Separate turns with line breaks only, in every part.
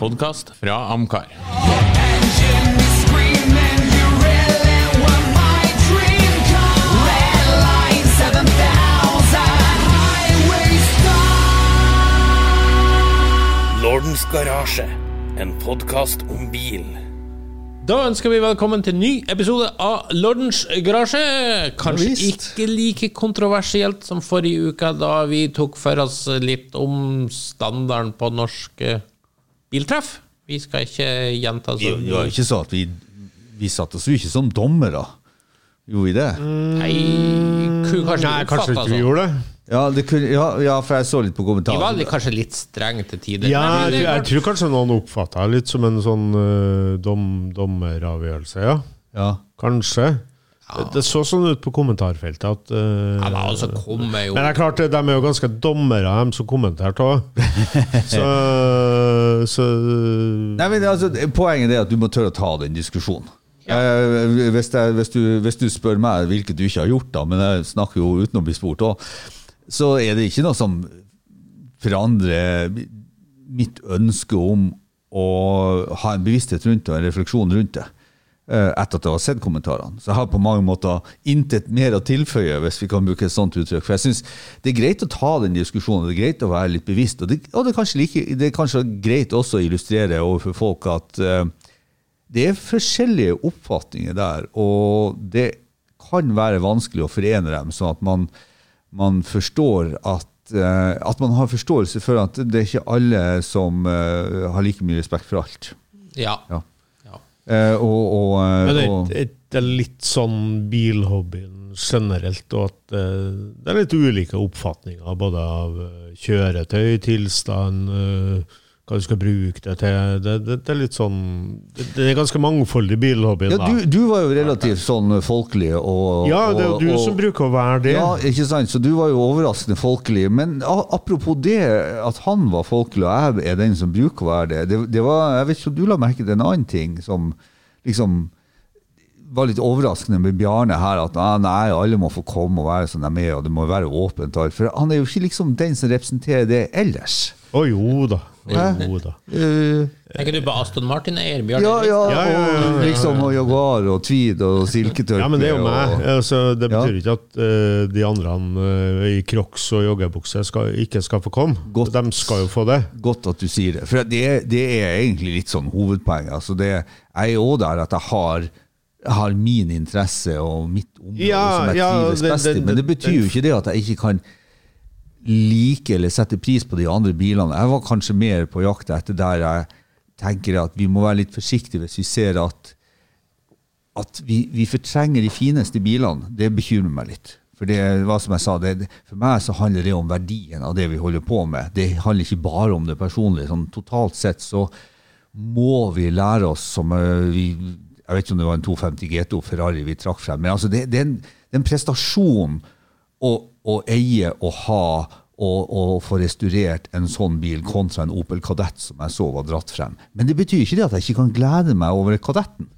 Podkast fra Amcar.
Lordens Garasje, en podkast om bil.
Da ønsker vi velkommen til ny episode av Lordens garasje. Kanskje
Ja visst.
ikke like kontroversielt som forrige uke, da vi tok for oss litt om standarden på norske biltreff. Vi skal ikke gjenta
Det
så
det var jo ikke så at vi Vi satt oss jo ikke som dommere. Gjorde vi det?
Nei, ku- kanskje,
Nei, kanskje ikke vi
sånn.
gjorde det.
Ja, det kunne, ja, ja, for jeg så litt på
Vi var
kommentarene.
litt, kanskje litt strenge til tider.
Ja,
men
jeg,
det er
jeg
klart.
tror kanskje noen oppfatta det litt som en sånn eh, dom, dommeravgjørelse, ja.
Ja.
Kanskje. Det, det så sånn ut på kommentarfeltet at eh,
ja, da, og så kommer jo
Men det er klart, de er jo ganske dommere, dem som kommenterte òg. Så, så
Nei, men altså, Poenget er at du må tørre å ta den diskusjonen. Eh, hvis, jeg, hvis, du, hvis du spør meg, hvilket du ikke har gjort, da, men jeg snakker jo uten å bli spurt òg, så er det ikke noe som forandrer mitt ønske om å ha en bevissthet rundt det og en refleksjon rundt det. eh, Etter at jeg har sett kommentarene. Så jeg har på mange måter intet mer å tilføye, hvis vi kan bruke et sånt uttrykk. For jeg synes det er greit å ta den diskusjonen, det er greit å være litt bevisst. Og det, og det, er, kanskje like, det er kanskje greit også å illustrere overfor folk at eh, det er forskjellige oppfatninger der, og det kan være vanskelig å forene dem, sånn at man, man forstår at eh, at man har forståelse for at det er ikke alle som eh, har like mye respekt for alt.
ja.
Ja.
Ja.
Eh, og, og, eh,
Men det,
og,
det, det er litt sånn bilhobbyen generelt, og at eh, det er litt ulike oppfatninger både av eh, kjøretøy, tilstand, eh, hva du skal bruke det til. Det, det, det er litt sånn Det, det er ganske mangfoldig bilhobbyen,
Ja, du, du var jo relativt sånn folkelig
da.
og
Ja, det er jo
og-
du
og-
som bruker å være det.
Ja, ikke sant? Så du var jo overraskende folkelig. Men a- apropos det, at han var folkelig, og jeg er den som bruker å være det, det, det var, Jeg vet ikke om du la merke til en annen ting som liksom var litt overraskende med Bjarne her, at ah, nei, alle må få komme og være som de er, og det må være åpent. og alt, For han er jo ikke liksom den som representerer det ellers.
Å jo da. Å
Hæ?
jo da.
Eh,
Tenker du på Aston Martin-eier, Bjørn?
ja, ja,
Ja, ja, ja, ja,
og
ja.
liksom og Jaguar og tweed og silketørkle.
Ja, men det er jo meg.
og-
Altså, det
Ja.
betyr ikke at eh, de andre eh, i crocs og joggebukse skal, ikke skal få komme.
Godt.
De skal jo få det.
Godt at du sier det. For det, det er egentlig litt sånn hovedpoeng. Altså det, jeg er òg der at jeg har, jeg har min interesse og mitt område
Ja,
som jeg
ja,
trives
det-
best i.
det-
Men det
det-
betyr jo ikke det at jeg ikke kan like eller sette pris på de andre bilene. Jeg var kanskje mer på jakt etter der jeg tenker at vi må være litt forsiktige hvis vi ser at at vi, vi fortrenger de fineste bilene, det bekymrer meg litt. For det var som jeg sa, det, det- for meg så handler det om verdien av det vi holder på med. Det handler ikke bare om det personlige. Sånn, totalt sett så må vi lære oss som eh, vi, Jeg vet ikke om det var en 250 GTO Ferrari vi trakk frem, men altså det, det, er, en, det er en prestasjon å, å eie og ha og, og få restaurert en sånn bil kontra en Opel Kadett som jeg så var dratt frem. Men det betyr ikke det at jeg ikke kan glede meg over Kadetten.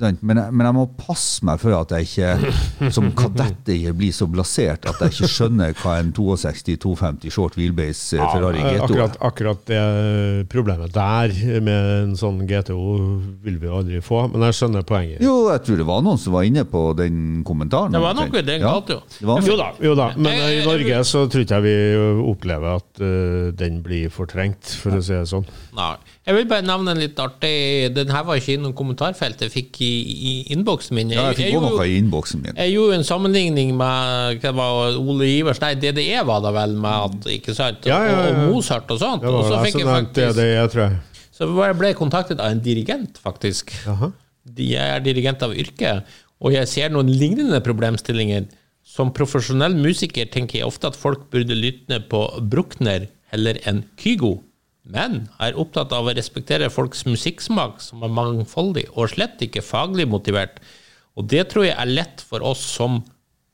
Sant? Men, jeg, men jeg må passe meg for at jeg ikke som kadetteier blir så blasert at jeg ikke skjønner hva en 62-250 short wheelbase eh, Ferrari
Ja,
GTO
Akkurat,
er.
akkurat det problemet der med en sånn GTO vil vi jo aldri få, men jeg skjønner poenget.
Jo, jeg tror det var noen som var inne på den kommentaren.
Det var noe, det er
Ja,
galt, jo.
det var
Jo
noe.
da, jo da, men
Jeg-
i Norge så tror ikke jeg vi opplever at eh, den blir fortrengt, for å si det sånn.
Nei. Jeg vil bare nevne en litt artig Den her var ikke innom kommentarfeltet. Jeg fikk i, i innboksen min.
Ja, jeg fikk òg
gjorde-
noe i innboksen min.
jeg gjorde en sammenligning med hva det var Ole Ivers, nei, DDE var det vel, med at, ikke sant?
Ja, ja, ja.
Og, og Mozart og sånt.
Det
og
var
så
jeg
fikk
som
jeg
nevnte
faktisk
det, jeg tror jeg.
Så jeg ble kontaktet av en dirigent, faktisk.
Jaha.
De- Jeg er dirigent av yrke, og jeg ser noen lignende problemstillinger. Som profesjonell musiker tenker jeg ofte at folk burde lytte på Bruckner heller enn Kygo, men er opptatt av å respektere folks musikksmak, som er mangfoldig og slett ikke faglig motivert. Og det tror jeg er lett for oss som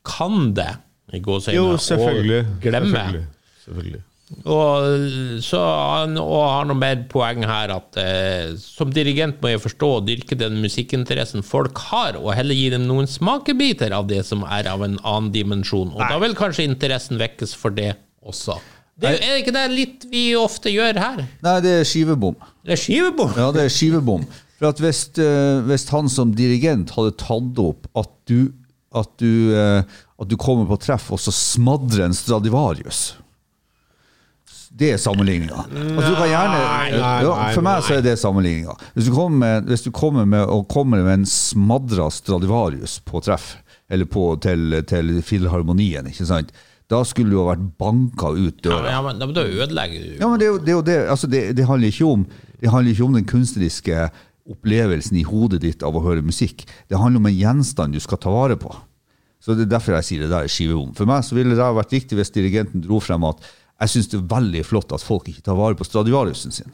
kan det, i gåseøyne,
Jo,
å
selvfølgelig.
glemme.
selvfølgelig, selvfølgelig.
Og, eh, så han og har noe mer poeng her at eh, som dirigent må jeg forstå og dyrke den musikkinteressen folk har, og heller gi dem noen smakebiter av det som er av en annen dimensjon. Og da vil kanskje interessen vekkes for det også. Det er, jo- er det ikke det litt vi ofte gjør her?
Nei, det er skivebom.
Det er skivebom!
Ja, det er skivebom. For at hvis, eh, hvis han som dirigent hadde tatt opp at du, at du, eh, at du kommer på treff, og så smadrer en Stradivarius Det er sammenligninga. Altså, du kan gjerne,
Nei, nei,
jo, for
nei,
meg så er det sammenligninga. Hvis du kommer med, hvis du kommer med, og kommer med en smadra Stradivarius på treff, eller på, til, til Filharmonien, ikke sant, da skulle du ha vært banka ut døra.
Ja, men, ja, men da ødelegger du
Ja, men det er jo det. Er jo det. Altså, det, det, handler ikke om, det handler ikke om den kunstneriske opplevelsen i hodet ditt av å høre musikk. Det handler om en gjenstand du skal ta vare på. Så Det er derfor jeg sier det der er skivebom. For meg så ville det ha vært riktig hvis dirigenten dro frem at jeg syns det er veldig flott at folk ikke tar vare på Stradivariusen sin.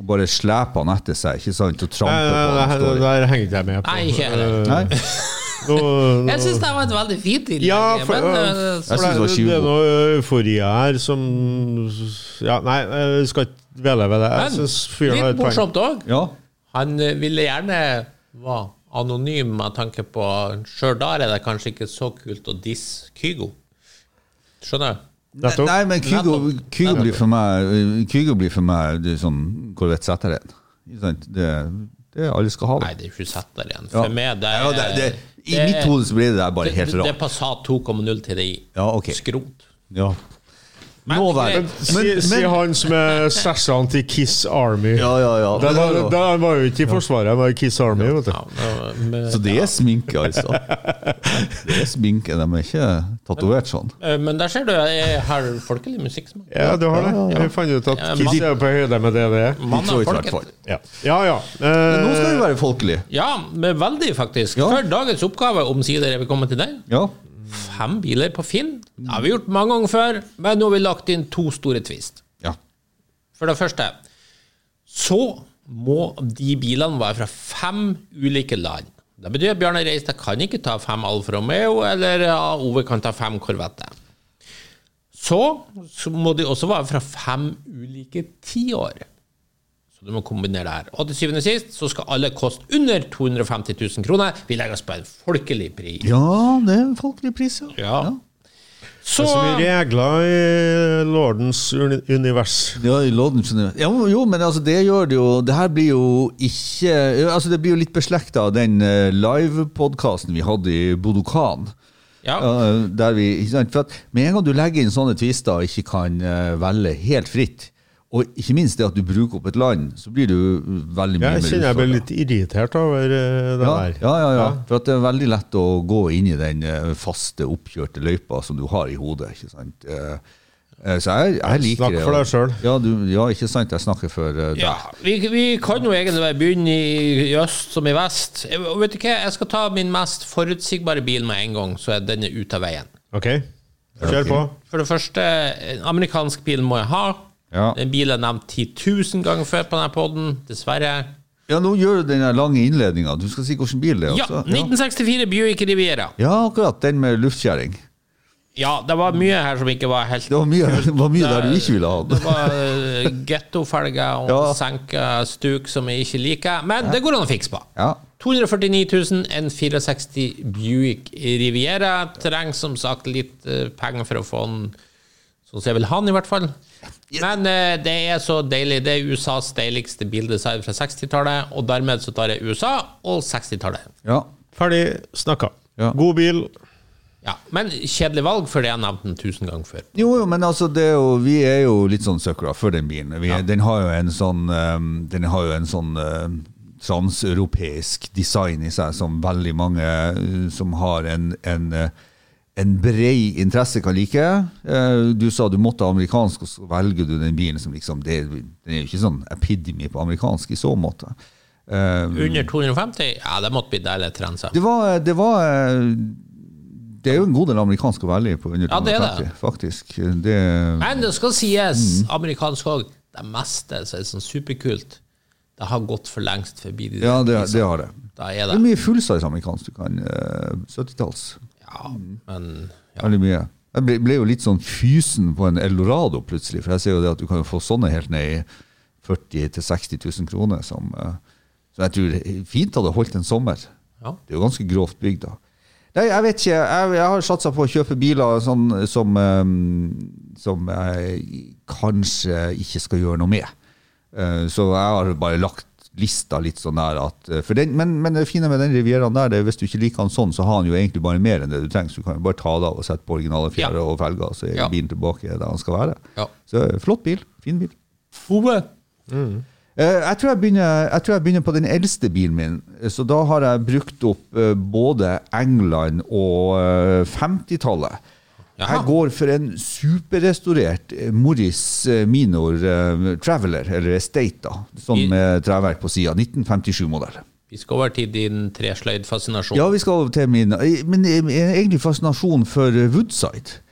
Og bare sleper han etter seg ikke sant, og
Nei,
tramper
nei,
på
nei, det
han. står i.
der henger ikke jeg med på.
Nei, ikke heller.
Eh,
Nei?
nå- nå-
Jeg syns det var et veldig fint innlegg.
Ja,
men,
for, øh,
eh,
for
synes det var
det, det er
tjue.
noe eufori her som Ja, nei, jeg skal ikke dvele ved det. Jeg
men
synes fyren
litt
har et poeng.
morsomt òg.
Ja.
Han eh, ville gjerne være anonym med tanke på Sjøl da er det kanskje ikke så kult å disse Kygo. Skjønner?
Nettopp.
Nei, men Kygo,
Nettopp.
Kygo blir for meg Kygo blir for meg det er sånn Corvette Sæteren. Ikke sant? Det, det alle skal ha. det.
Nei, det er ikke setter igjen. For meg, det er
Ja, det, det, I mitt hode så blir det der bare helt
det, det er
rart.
Passat 2,0 til deg.
Ja, ok.
Skrot.
Ja. Nå vel.
greit.
Si- Si han som er sersjant i Kiss Army.
Ja, ja, ja.
Den var, den var jo ikke i Forsvaret, han var i Kiss Army. vet du.
Ja, men- men-
Så det er sminke, altså. Det er sminke, de er ikke tatovert sånn.
Eh, Men der ser du, jeg har folkelig musikksmak.
Ja, du har det.
Ja, ja, ja.
Vi fant ut at
Ja,
Kiss
man-
er jo på høyde med det det er.
Mann er
Detroit, i
folket.
hvert fall.
Ja, ja. ja.
Men nå skal
Eh,
vi være folkelige.
Ja, men veldig, faktisk.
Ja.
Før dagens oppgave, omsider er vi kommet til den.
Ja.
Fem biler på Finn. Det har vi gjort mange ganger før, men nå har vi lagt inn to store twist.
ja.
For det første, så må de bilene være fra fem ulike land. Det betyr at Bjarne Reistad kan ikke ta fem Alfa Romeo, eller ja, Ove kan ta fem Corvette. Så, så må de også være fra fem ulike tiår. Så du må kombinere det her. Og til syvende og sist så skal alle koste under 250 000 kroner. Vi legger oss på en folkelig pris.
ja, det er en folkelig pris, ja.
Ja. Så,
det er så mye regler i lordens uni- univers.
Ja, i Lodden, skjønner jeg. Ja, jo, men altså, det gjør det jo Det her blir jo ikke ja, Altså, det blir jo litt beslekta av den eh, live-podkasten vi hadde i Bodokan.
ja.
Ja, der vi, ikke sant? For at med en gang du legger inn sånne tvister og ikke kan eh, velge helt fritt, og ikke minst det at du bruker opp et land, så blir du veldig mye
Ja, jeg
mer
kjenner jeg blir
utfordret.
litt irritert over eh, det
ja,
der.
ja, ja, ja. For at det er veldig lett å gå inn i den eh, faste, oppkjørte løypa som du har i hodet. ikke sant? Eh, eh, Så jeg, jeg liker
Snakk
det.
for deg selv.
Ja, du, ja, ikke sant? Jeg snakker for eh, deg.
Ja, vi, vi kan jo egentlig begynne i, i øst som i vest. Jeg- og Vet du hva, jeg skal ta min mest forutsigbare bil med en gang, så er den ute av veien.
Ok, kjør på.
For det første, en amerikansk bil må jeg ha.
Ja.
En bil jeg har nevnt 10 000 ganger før på denne poden, dessverre.
Ja, nå gjør du den der lange innledninga. Du skal si hvilken bil det er.
Ja,
også.
1964 Buick Riviera.
ja, akkurat. Den med luftkjerring.
Ja, det var mye her som ikke var helt
Det var mye, det var mye der du ikke ville ha
Det
den.
var eh, gettofelger og
Ja.
senka stuk som jeg ikke liker, men det går an å fikse på.
Ja.
249 000, en 64 Buick Riviera. Trenger som sagt litt eh, penger for å få den sånn som jeg vil ha den, i hvert fall. Men eh, det er så deilig. Det er USAs deiligste bildesign fra 60-tallet, og dermed så tar jeg USA og 60-tallet.
Ja.
Ferdig snakka.
Ja.
God bil.
Ja, men kjedelig valg, for det har jeg nevnt den tusen ganger før.
Jo, jo, men altså, det er jo, vi er jo litt sånn søkere for den bilen. Vi, Den har jo en sånn, ehm, den har jo en sånn ehm, transeuropeisk design i seg som veldig mange eh, som har en, en, eh, en bred interesse kan like. Eh, Du sa du måtte ha amerikansk, og så velger du den bilen som liksom det, Den er jo ikke sånn epidemi på amerikansk i så måte. Eh,
Under 250? Ja, det måtte bli deilig trense.
Det var, det var eh, Det er jo en god del amerikansk å velge på under
Ja, det er det.
250, faktisk. Det eh,
Men det skal sies,
Mm.
amerikansk òg, det meste som er sånn superkult, det har gått for lengst forbi de
Ja, det, det har det.
Da er
Det
det
er mye fullsize amerikansk du kan. eh, 70-talls.
Ja,
Mm.
men
Veldig mye. Jeg ble, ble jo litt sånn fysen på en Eldorado plutselig, for jeg ser jo det at du kan jo få sånne helt ned i 40 000-60 000 kroner, som, eh, som jeg tror fint hadde holdt en sommer.
Ja.
Det er jo ganske grovt bygd, da. Nei, jeg vet ikke. Jeg, jeg har satsa på å kjøpe biler sånn, som, eh, som jeg kanskje ikke skal gjøre noe med. Eh, Så jeg har bare lagt lista litt sånn der at eh, for den, men, men det fine med den Rivieraen der, det er hvis du ikke liker den sånn, så har den jo egentlig bare mer enn det du trenger. Så du kan jo bare ta det av og sette på originale fjærer
Ja.
og felger, så er
Ja.
bilen tilbake der den skal være.
Ja.
Så eh, flott bil. Fin bil.
Ove,
Eh, Jeg tror jeg, begynner, jeg tror jeg begynner på den eldste bilen min. Eh, Så da har jeg brukt opp eh, både England og eh, 50-tallet.
Jaha.
Jeg går for en superrestaurert eh, Morris eh, Minor eh, Traveler, eller Estate, da, som
I-
eh, treverk på sida. 1957-modell.
vi skal over til din tresløydfascinasjon.
Ja, vi skal over til min eh, Men eh, egentlig fascinasjon for eh, Woodside.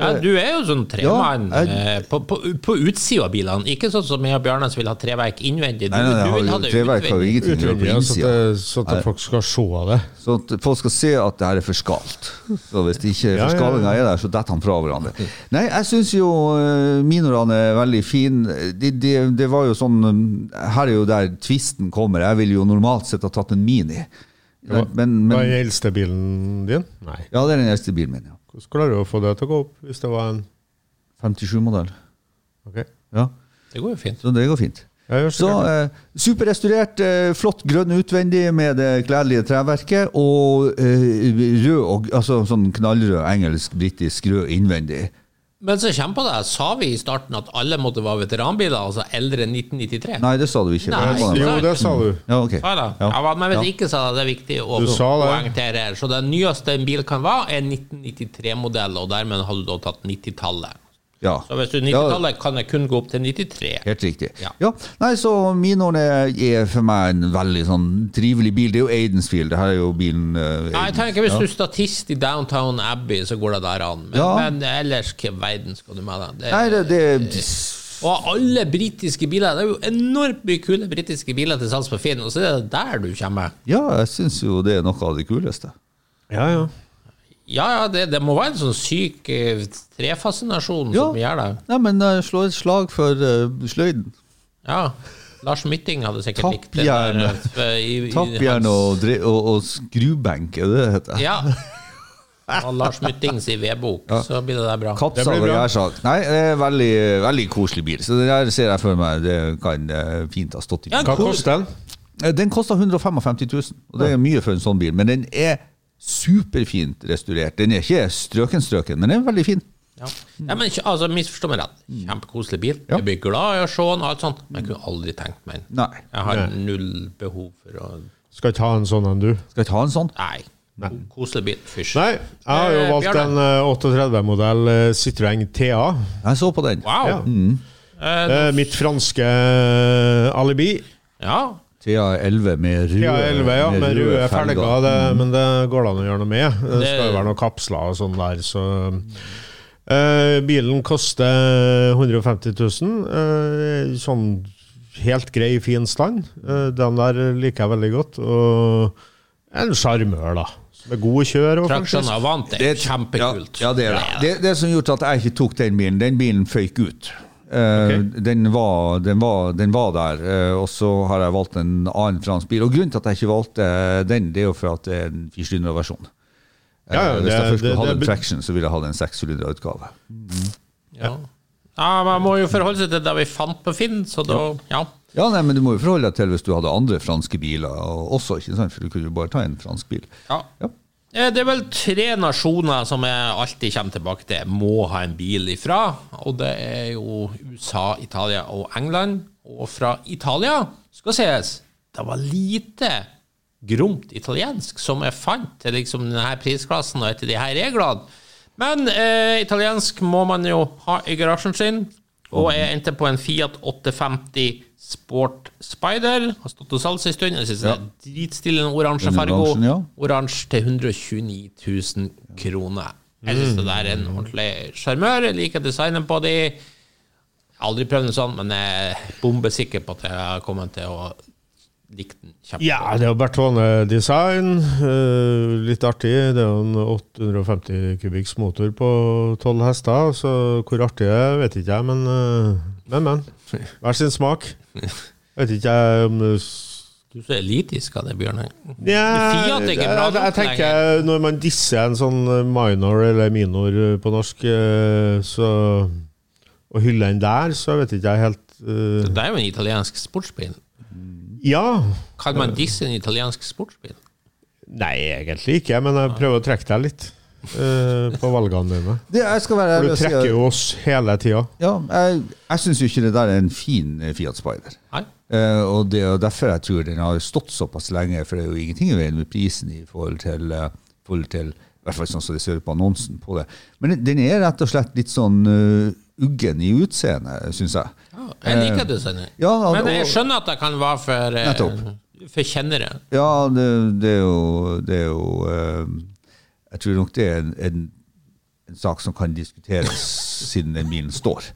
Ja, du er jo sånn tremann
eh, Ja, jeg-
eh, på, på, på utsida av bilene. Ikke sånn som jeg og Bjarne som vil ha treverk innvendig. Du,
Nei, nei,
du
nei,
vil ha
har-
det
treverk har jo
utvendig.
ingenting å gjøre på
Utvendig, ja, så
innsida.
at, så at folk skal se det.
Så at folk skal se at det her er forskalt. Så hvis det ikke
ja, ja.
forskalingen er der, så detter han fra hverandre. Nei, jeg syns jo eh, minorene er veldig fine. Det de, det var jo sånn eh, Her er jo der tvisten kommer. Jeg ville jo normalt sett ha tatt en Mini. Men, men,
Hva er
men
den eldste bilen din? Nei.
Ja, det er den eldste bilen min. ja.
Hvordan klarer du å få det til å gå opp hvis det var en
57-modell.
Ok.
Ja,
Det går jo fint.
så det går fint.
Ja, gjør
Så
sikkert det.
eh, Superrestaurert, eh, flott grønn utvendig med det gledelige treverket. Og eh, rød og, altså sånn knallrød engelsk-britisk rød innvendig.
Men så kommer på det, sa vi i starten at alle måtte være veteranbiler, altså eldre enn 1993?
Nei, det sa du ikke.
Nei.
Det var det.
Jo, det sa du.
Ja, ok.
Sa jeg det?
Ja.
Ja. hva- men hvis
Ja.
jeg ikke sa det, det er viktig å
Du sa det.
poengtere. her. Så det nyeste en bil kan være, er 1993-modell, og dermed har du da tatt 90-tallet.
Ja.
Så hvis du er
Ja,
90-tallet, kan jeg kun gå opp til 93.
Helt riktig. Ja.
Ja.
Nei, så Minoen er, er for meg en veldig sånn trivelig bil. Det er jo Aidensfield. Det her er jo bilen eh,
Nei, jeg tenker Hvis du er statist i Downtown Abbey, så går det der an. Men,
Ja.
men ellers, hva i verden skal du med deg? Det-
Nei, det, det
Og alle britiske biler. Det er jo enormt mye kule britiske biler til salgs på Finn, og så er det der du kommer.
Ja, jeg syns jo det er noe av det kuleste.
Ja, ja.
Ja, ja, det, det må være en sånn syk eh, trefascinasjon
Ja.
som gjør det.
Nei, men jeg slår et slag for eh, sløyden.
Ja. Lars Mytting hadde sikkert likt det.
Tappjern.
der, eh, i- i
Tappjern
hans-
og, dre- og, og skrubenk, er det det heter?
Ja. Og Lars Myttings i vedbok, så blir det der bra.
Kapsa
Det blir
var
bra.
jeg sagt. Nei, det er veldig, veldig koselig bil. Så det der ser jeg for meg det kan eh, fint ha stått i
Ja,
Hva
cool.
koster den?
Eh, Den koster 155 000, og det er mye for en sånn bil. Men den er superfint restaurert. Den er ikke strøken-strøken, men den er veldig fin.
Ja. Ja, men ikke- altså, Misforstå meg rett. Kjempekoselig bil.
Ja.
Jeg blir glad i å se den, og alt sånt, men jeg kunne aldri tenkt meg den.
Nei.
Jeg har null behov for å
Skal ikke ha en sånn enn du.
Skal ikke ha en sånn.
Nei. Koselig bil. Fysj.
Nei, jeg har jo
Eh,
valgt
Bjarne.
en 38-modell eh, Citroën TA.
Jeg så på den.
Wow.
Ja.
Mm.
Eh, mitt franske eh, alibi.
Ja.
TA11 med røde
TA 11, ja, med røde felger. Det, men det går det an å gjøre noe med. Det skal jo være noen kapsler og sånn der, så eh, Bilen koster 150 000. eh, sånn helt grei, fin stand. Eh, den der liker jeg veldig godt. Og en sjarmør, da. Som er god å kjøre. og
Traction
faktisk-
Avante.
Det er
Kjempekult.
Ja, ja, det er det. Det, det som gjorde at jeg ikke tok den bilen, den bilen føyk ut. Eh, den, var, den, var, den var der, eh, og så har jeg valgt en annen fransk bil. Og grunnen til at jeg ikke valgte den, det er jo for at det er en 400-versjon.
Ja, ja,
Hvis jeg
det-
først skulle
det-
hatt
det
en
bet-
traction, så ville jeg hatt en 600-utgave.
Ja. ja, Man må jo forholde seg til det vi fant på Finn, så da Ja.
Ja, nei, men du må jo forholde deg til hvis du hadde andre franske biler og også, ikke sant? For du kunne jo bare ta en fransk bil.
ja.
Ja.
Eh, Det er vel tre nasjoner som jeg alltid kommer tilbake til må ha en bil ifra. Og det er jo USA, Italia og England. Og fra Italia skal sies det var lite gromt italiensk som jeg fant til liksom denne prisklassen og etter de her reglene. Men eh, italiensk må man jo ha i garasjen sin. Og jeg endte på en Fiat 850 Sport Spider. Har stått og salgs en stund. Jeg synes den er dritstille, den oransje
Den
fargo.
oransjen, ja.
Oransje til 129 000 kroner. Jeg synes det der er en ordentlig sjarmør. Jeg liker designet på de. Jeg har aldri prøvd noe sånt, men jeg er bombesikker på at jeg kommer til å like den kjempegodt.
Ja, det er jo Bertone Design. eh, litt artig. Det er jo en 850 kubikks motor på 12 hester, så hvor artig det er, vet ikke jeg, men eh, Men, men. Hver sin smak. Vet ikke jeg om det s-
Du er så elitisk av det, Bjørnar.
Ja,
Fiat er
jeg,
ikke bra nok
jeg, jeg
lenger.
tenker Når man disser en sånn minor eller minor eh, på norsk, eh, så og hyller den der, så vet ikke jeg helt eh,
Det er jo en italiensk sportsbil.
Ja.
Kan man disse en italiensk sportsbil?
Nei, egentlig ikke, men jeg prøver å trekke deg litt eh, på valgene dine.
Det, jeg skal være
For du
ærlig og si at-
trekker jo oss hele tida.
Ja, jeg, jeg syns jo ikke det der er en fin eh, Fiat Spider.
Nei.
Eh, og det er jo derfor jeg tror den har stått såpass lenge, for det er jo ingenting i veien med prisen i forhold til, eh, forhold til i hvert fall sånn som det ser ut på annonsen på det. Men den er rett og slett litt sånn eh, uggen i utseendet, syns jeg.
Ja, jeg liker designet.
Eh, ja, og-
Men jeg skjønner at det kan være for, eh,
Nettopp.
for kjennere.
Ja, det, det er jo, det er jo eh, Jeg tror nok det er en, en, en sak som kan diskuteres siden den bilen står.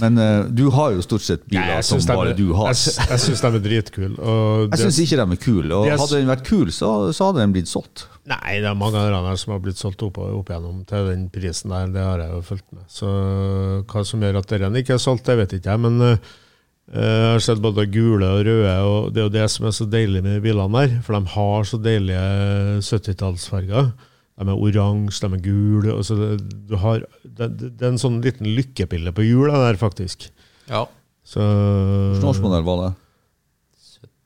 Men eh, du har jo stort sett biler som
syns de,
bare
er-
du har.
jeg sy- jeg syns de er dritkule. og
Jeg
det-
syns ikke de er kule. Og
Yes.
hadde den vært kul, så, så hadde den blitt solgt.
Nei, det er mange av dem her som har blitt solgt opp, opp igjennom til den prisen der, det har jeg jo fulgt med. Så hva som gjør at den ikke er solgt, det vet ikke jeg, men eh, jeg har sett både gule og røde, og det er jo det som er så deilig med de bilene der, for de har så deilige 70-tallsfarger. De er oransje, de er gule, og så det, du har, det, det det er en sånn liten lykkepille på hjula der, faktisk.
Ja.
Så Mm.
Hvilken årsmodell var det?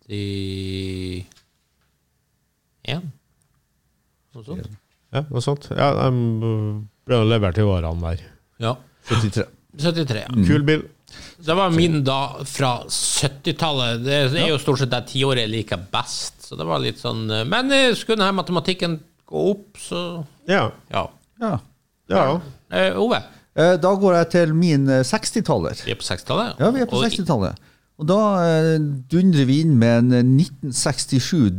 71 Noe sånt.
Ja, noe sånt. Ja, de ble levert i årene der.
Ja.
73.
73,
Mm.
ja.
Kul bil.
Det var min da fra 70-tallet. Det er jo stort sett det tiåret jeg liker best. Så det var litt sånn eh, Men eh, skulle denne matematikken gå opp, så
Ja,
Ja.
Ja.
ja.
Eh, Ove,
Eh, Da går jeg til min eh, 60-taller.
vi er på 60-tallet?
Ja, vi er på
Og-
60-tallet. Og da eh, dundrer vi inn med en eh, 1967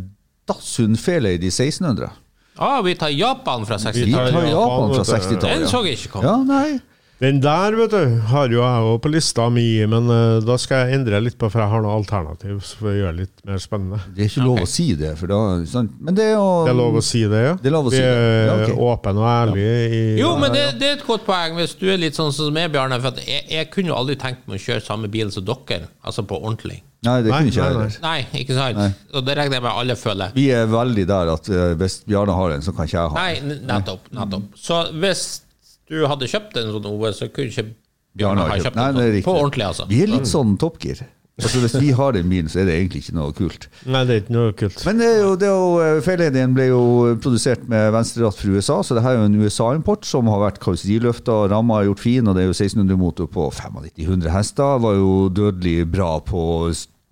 Datsun Felade i 1600.
Ah, vi tar Japan fra
Vi
60-tallet.
tar
tar
Japan,
Japan fra
vet du. sånn-
60-tallet.
Den
ja.
så jeg ikke komme.
Ja, nei.
Den der vet du, har jo jeg òg på lista mi, men eh, da skal jeg endre litt på, for jeg har noe alternativ så for å gjøre det litt mer spennende.
Det er ikke lov å si det, for da sant? Men det er jo
Det er lov å si det, ja?
Det er lov å si
Vi
det.
er eh,
Ja, ok.
åpne og ærlige i
Jo, men det, det er et godt poeng hvis du er litt sånn som meg, Bjarne. For at jeg, jeg kunne jo aldri tenkt meg å kjøre samme bil som dere, altså på ordentlig.
Nei, det
Nei,
kunne
nei,
ikke jeg
nei.
heller.
Nei, ikke sant? Og det regner jeg med alle føler.
Vi er veldig der at eh, hvis Bjarne har en, så kan ikke jeg ha en.
Nei, n- nettopp.
Mm.
nettopp. Så hvis du hadde kjøpt en sånn Ove, så kunne ikke
Bjarne
Bjarne ha kjøpt
Nei,
den.
det er
sånn.
riktig.
På ordentlig, altså.
Vi er
Mm.
litt sånn toppgir. Altså, hvis vi har den bilen, så er det egentlig ikke noe kult.
Nei, det er ikke noe kult.
Men det er jo, det er jo, eh, Fairladyen ble jo eh, produsert med venstreratt fra USA, så det her er jo en USA-import som har vært karosseriløfta, ramma er gjort fin, og det er jo 1600-motor på 9500 hester. Var jo dødelig bra på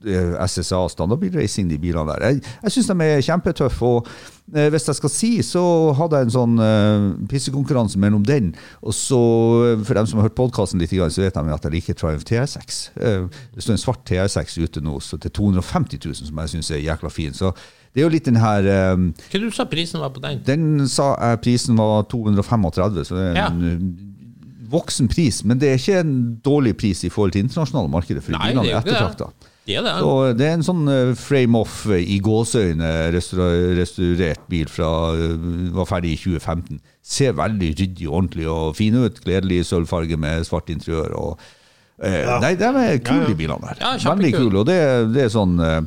eh, SSA standardbilracing, de bilene der. Jeg, jeg syns de er kjempetøffe. og eh, hvis jeg skal si, så hadde jeg en sånn eh, pissekonkurranse mellom den, og så, eh, for dem som har hørt podkasten litt, grann, så vet de at jeg liker Triumph TR6. Eh, det står en svart TR6 ute nå så til 250 000, som jeg syns er jækla fin. Så det er jo litt den her eh,
Hva du sa prisen var på den?
den sa jeg prisen var 235, så det er en uh, voksen pris. Men det er ikke en dårlig pris i forhold til internasjonale markedet, for
Nei,
bilene
det er
er
jo ikke det.
ettertrakta.
Det er det.
Så det er en sånn uh, frame-off uh, i gåseøyne restaura restaurert bil fra uh, var ferdig i 2015. Ser veldig ryddig og ordentlig og fin ut. Gledelig sølvfarge med svart interiør. og uh, Nei, de er kule, de bilene der.
Ja,
veldig
kjempekul.
kule. Og det, er- det er sånn uh,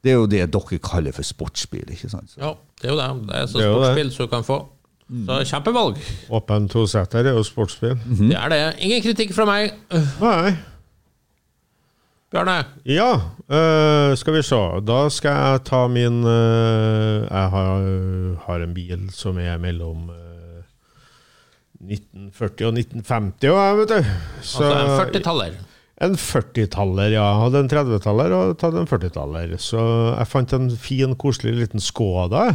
det er jo det dere kaller for sportsbil, ikke sant?
Ja, det er jo det. Det er så
Det er jo det.
sportsbil som du kan få.
Mm.
Så kjempevalg.
Åpen toseter er jo sportsbil.
Mhm.
Det er det. Ingen kritikk fra meg. Øh,
Nei.
Bjarne,
Ja, øh, skal vi se. Da skal jeg ta min øh, Jeg har, har en bil som er mellom øh, 1940 og 1950, og jeg, vet du. Så-
altså en 40-taller.
En 40-taller, ja. Jeg Hadde en 30-taller og tatt en 40-taller. Så jeg fant en fin, koselig liten Skoda,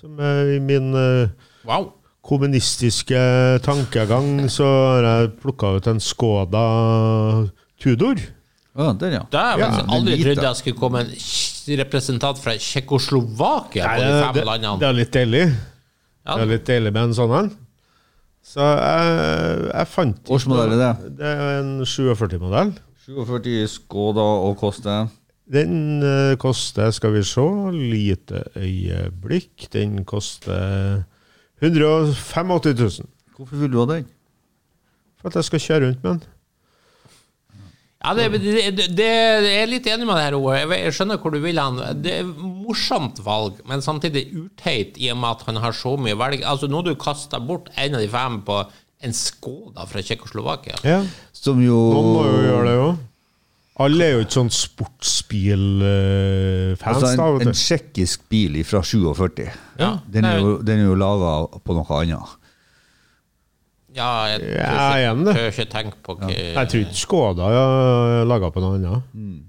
som er i min eh,
Wow.
kommunistiske tankegang, så har jeg plukka ut en Skoda Tudor.
Ja, den, ja.
Det har jeg
Ja,
faktisk
men
aldri
lite.
trodd jeg skulle komme en kj- representant fra Tsjekkoslovakia på de fem
det, det
landene.
er litt deilig.
Ja.
Det er litt deilig med en sånn en. Så jeg, jeg fant
Årsmodell er det?
Det er en 47-modell.
47 Skoda og koste
Den eh, koster, skal vi se, lite øyeblikk. Den koster 185 000.
Hvorfor vil du ha den?
For at jeg skal kjøre rundt med den.
Ja, det, det, det, det Jeg er litt enig med det her, Ove. Jeg, jeg skjønner hvor du vil hen. Det er morsomt valg, men samtidig uteit i og med at han har så mye velg. Altså, nå har du kasta bort en av de fem på en Skoda fra Tsjekkoslovakia.
Ja,
Som jo
Noen må jo gjøre det òg. Alle er jo ikke sånn sportsbil-fans.
Altså
da,
en,
vet
en
du.
tsjekkisk bil fra 47.
Ja,
Den er
nei.
jo, den er jo laga på noe annet.
Ja, jeg tør
Ja, jeg er enig i
ikke,
det.
tør ikke tenke på hva
Jeg tror ikke Skoda er laga på noe annet.
Mm.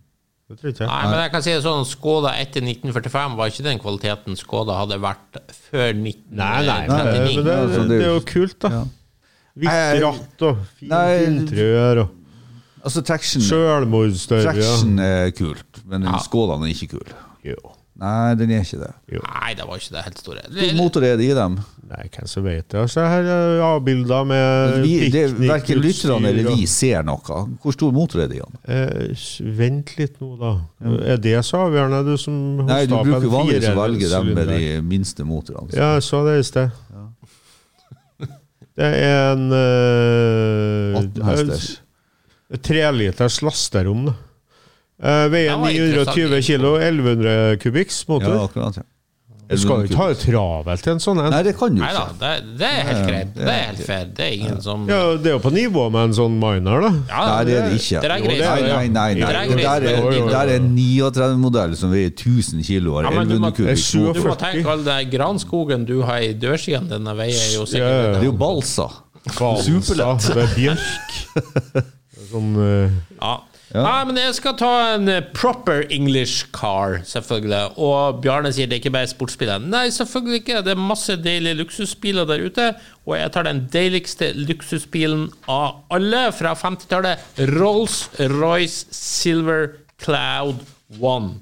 Det tror ikke jeg.
Nei, men jeg kan si det sånn, Skoda etter 1945 var ikke den kvaliteten Skoda hadde vært før
Nei, nei, men,
1939.
men det,
Altså,
det
det
er
er jo-
jo kult, da.
Ja. Nei,
Hvitt ratt og
nei.
fint interiør og
Altså traction,
sjølmordsstørje.
traction er kult, men den skålene er ikke kul.
Jo.
Nei, den er ikke det.
Nei, det var ikke det helt store.
Hvilken motor er det i dem?
Nei, hvem som vet det. Se her er avbilder med
Vi, det,
piknikutstyr
verken lytterne eller
og-
vi ser noe. Hvor stor motor er det i den?
Eh, s- vent litt nå, da. Er det så avgjørende, du som hosta
Nei, du
opp en
bruker jo vanligvis
firehjulssylinder?
å velge dem med de minste motorene. så-
Ja, jeg så det i sted. Det er en eh,
18 hesters.
eh, Treliters lasterom, da. Eh, veier
Den var interessant.
920 kilo, 1100 kubikks
Ja,
motor.
akkurat. Ja.
du skal jo ikke ha det travelt i en sånn en.
Nei, det kan du
Nei da,
ikke.
det, det er helt greit. Det er helt fair. Det er ingen som Ja,
Ja, det er jo på nivå med en sånn miner, da.
Ah,
Nei, det er det ikke.
Drag race,
Nei,
ja.
nei, nei. nei.
Drag
Det
race,
der er,
men-
det der er en 39-modell som veier 1000 kilo og
Ja,
har
men du må-
1100 kubikk.
Det er
Du
motor.
må tenke all den granskogen du har i dørskien, denne veier jo
Ja,
Det er
sikkert
jo balsa.
Kvalsa,
Superlett.
Det er bjørk. Det er Sånn eh,
ja. Nei, men jeg skal ta en eh, proper English car, selvfølgelig. Og Bjarne sier det er ikke bare sportsbiler. Nei, selvfølgelig ikke. Det er masse deilige luksusbiler der ute. Og jeg tar den deiligste luksusbilen av alle fra 50-tallet. Rolls-Royce Silver Cloud One.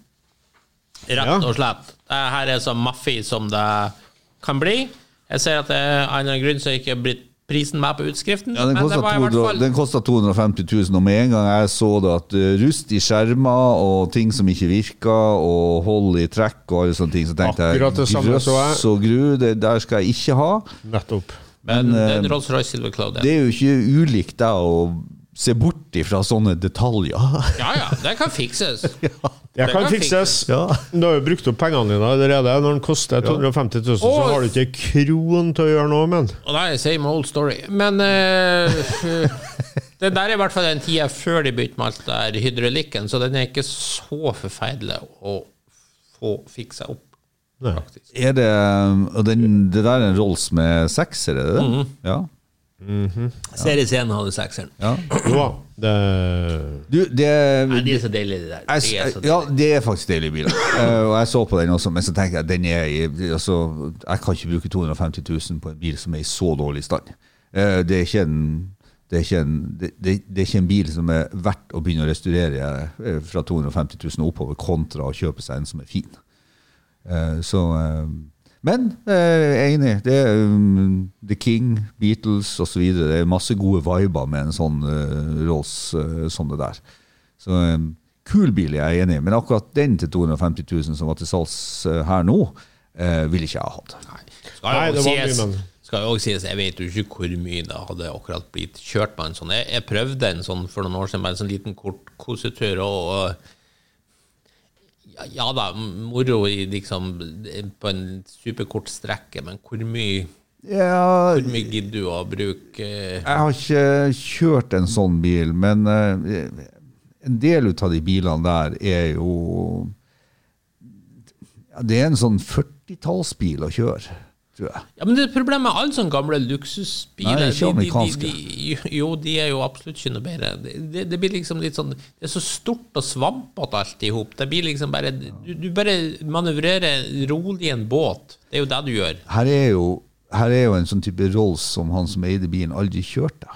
Ja.
Rett og slett. Det her er så maffig som det kan bli. Jeg ser at det er en eller annen grunn så er ikke blitt prisen med på utskriften.
Ja, den
men det
kosta
var i hvert
200
fall-
den kostet 250 000, og med en gang jeg så det at eh, rust i skjermer og ting som ikke virka, og hold i trekk og alle sånne ting, så tenkte
Akkurat det
jeg
samme så jeg.
grøss og gru, det der skal jeg ikke ha.
nettopp.
Men
Men,
den
eh,
Rolls-Royce Silver Cloud, ja.
Det er jo ikke ulikt deg å se bort ifra sånne detaljer.
Ja, ja, det kan fikses.
Det
Det
kan
kan
fikses.
Ja.
Du har jo brukt opp pengene dine allerede. Når den koster 250 000, så
Åh.
har du ikke en kron til å gjøre noe med den.
Og det er same old story. Men eh, det der er i hvert fall den tida før de begynte med alt det der hydraulikken, så den er ikke så forferdelig å få fiksa opp,
Nei.
faktisk.
Er det eh, Og den, det der er en Rolls med seks, er det det?
Mm.
Ja.
Serie scenen hadde sekseren.
ja.
Jo da. Det
Du,
Nei,
det
de er så deilige, de der.
jeg,
De er så
s- ja, det er faktisk deilig bil. Eh, og jeg så på den også, men så tenker jeg den er i, altså, jeg kan ikke bruke 250 000 på en bil som er i så dårlig stand. Eh, det, er ikke en, det, er ikke en, det, det det er ikke en bil som er verdt å begynne å restaurere eh, fra 250 000 og oppover, kontra å kjøpe seg en som er fin. Eh, så eh, Men eh, jeg er enig. Det er um, The King, Beatles osv. Det er masse gode viber med en sånn eh, Rolls eh, som det der. Så eh, kul bil, jeg er enig i, men akkurat den til 250 000 som var til salgs eh, her nå, eh, ville ikke jeg ha hatt.
Skal
Nei,
jo
det var mye,
sies,
men-
skal jo også sies, jeg vet jo ikke hvor mye det hadde akkurat blitt kjørt med en sånn. Jeg, jeg prøvde en sånn for noen år siden, bare en sånn liten kort kosetur, og, og ja, ja da, moro i liksom på en superkort strekke, men hvor mye,
Ja,
hvor mye gidder du å bruke eh,
Jeg har ikke kjørt en sånn bil, men eh, en del ut av de bilene der er jo ja, Det er en sånn 40-tallsbil å kjøre, tror jeg.
Ja, men det er problemet med alle sånne gamle
Nei,
luksusbiler.
ikke amerikanske.
De, de, de, jo, de er jo absolutt ikke noe bedre. Det, det, det blir liksom litt sånn Det er så stort og svampete alt i hop. Det blir liksom bare du, du bare manøvrerer rolig i en båt. Det er jo det du gjør.
Her er jo, her er jo en sånn type Rolls som han som eide bilen, aldri kjørte.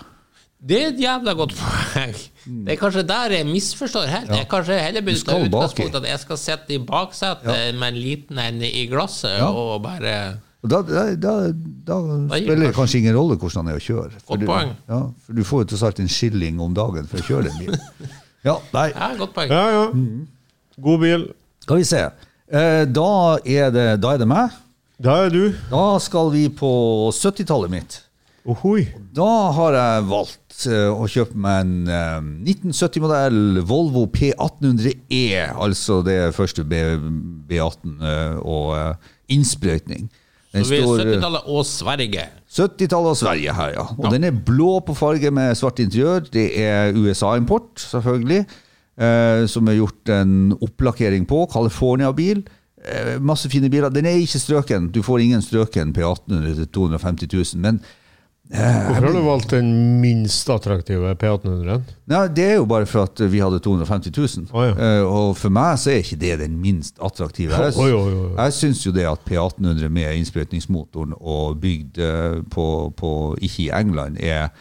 Det er et jævla godt poeng. Det er kanskje der jeg misforstår helt. Jeg kanskje heller burde ta
skal baki.
utgangspunkt at jeg skal sitte i baksetet med en liten en i glasset og bare
Og da, da, da, da
Da gir
spiller
det
det kanskje ingen rolle hvordan det er å kjøre.
Godt
du,
poeng.
ja, for du får jo tross alt en skilling om dagen for å kjøre den bilen. Ja, nei.
Ja, godt poeng.
Ja, ja. God bil.
Skal vi se. Eh, Da er det, da er det meg.
Da er du.
Da skal vi på 70-tallet mitt.
Ohoi.
Da har jeg valgt eh, å kjøpe meg en eh, 1970-modell Volvo P1800E, altså det første B, B18 eh, og eh, innsprøytning. Den
Så vi er
står, eh,
70-tallet og Sverige.
70-tallet og Sverige her, ja. Og den er blå på farge med svart interiør. Det er USA-import, selvfølgelig, eh, som er gjort en opplakkering på. California-bil. Eh, masse fine biler. Den er ikke strøken. Du får ingen strøken P1800 til 250 000, men
Hvorfor har du valgt den minst attraktive P1800-en?
Nei, Det er jo bare for at vi hadde 250 000.
Å, ja.
Eh, og for meg så er ikke det den minst attraktive. Jeg,
Oi, oi, oi.
jeg syns jo det at P1800 med innsprøytningsmotoren og bygd eh, på, på ikke i England, er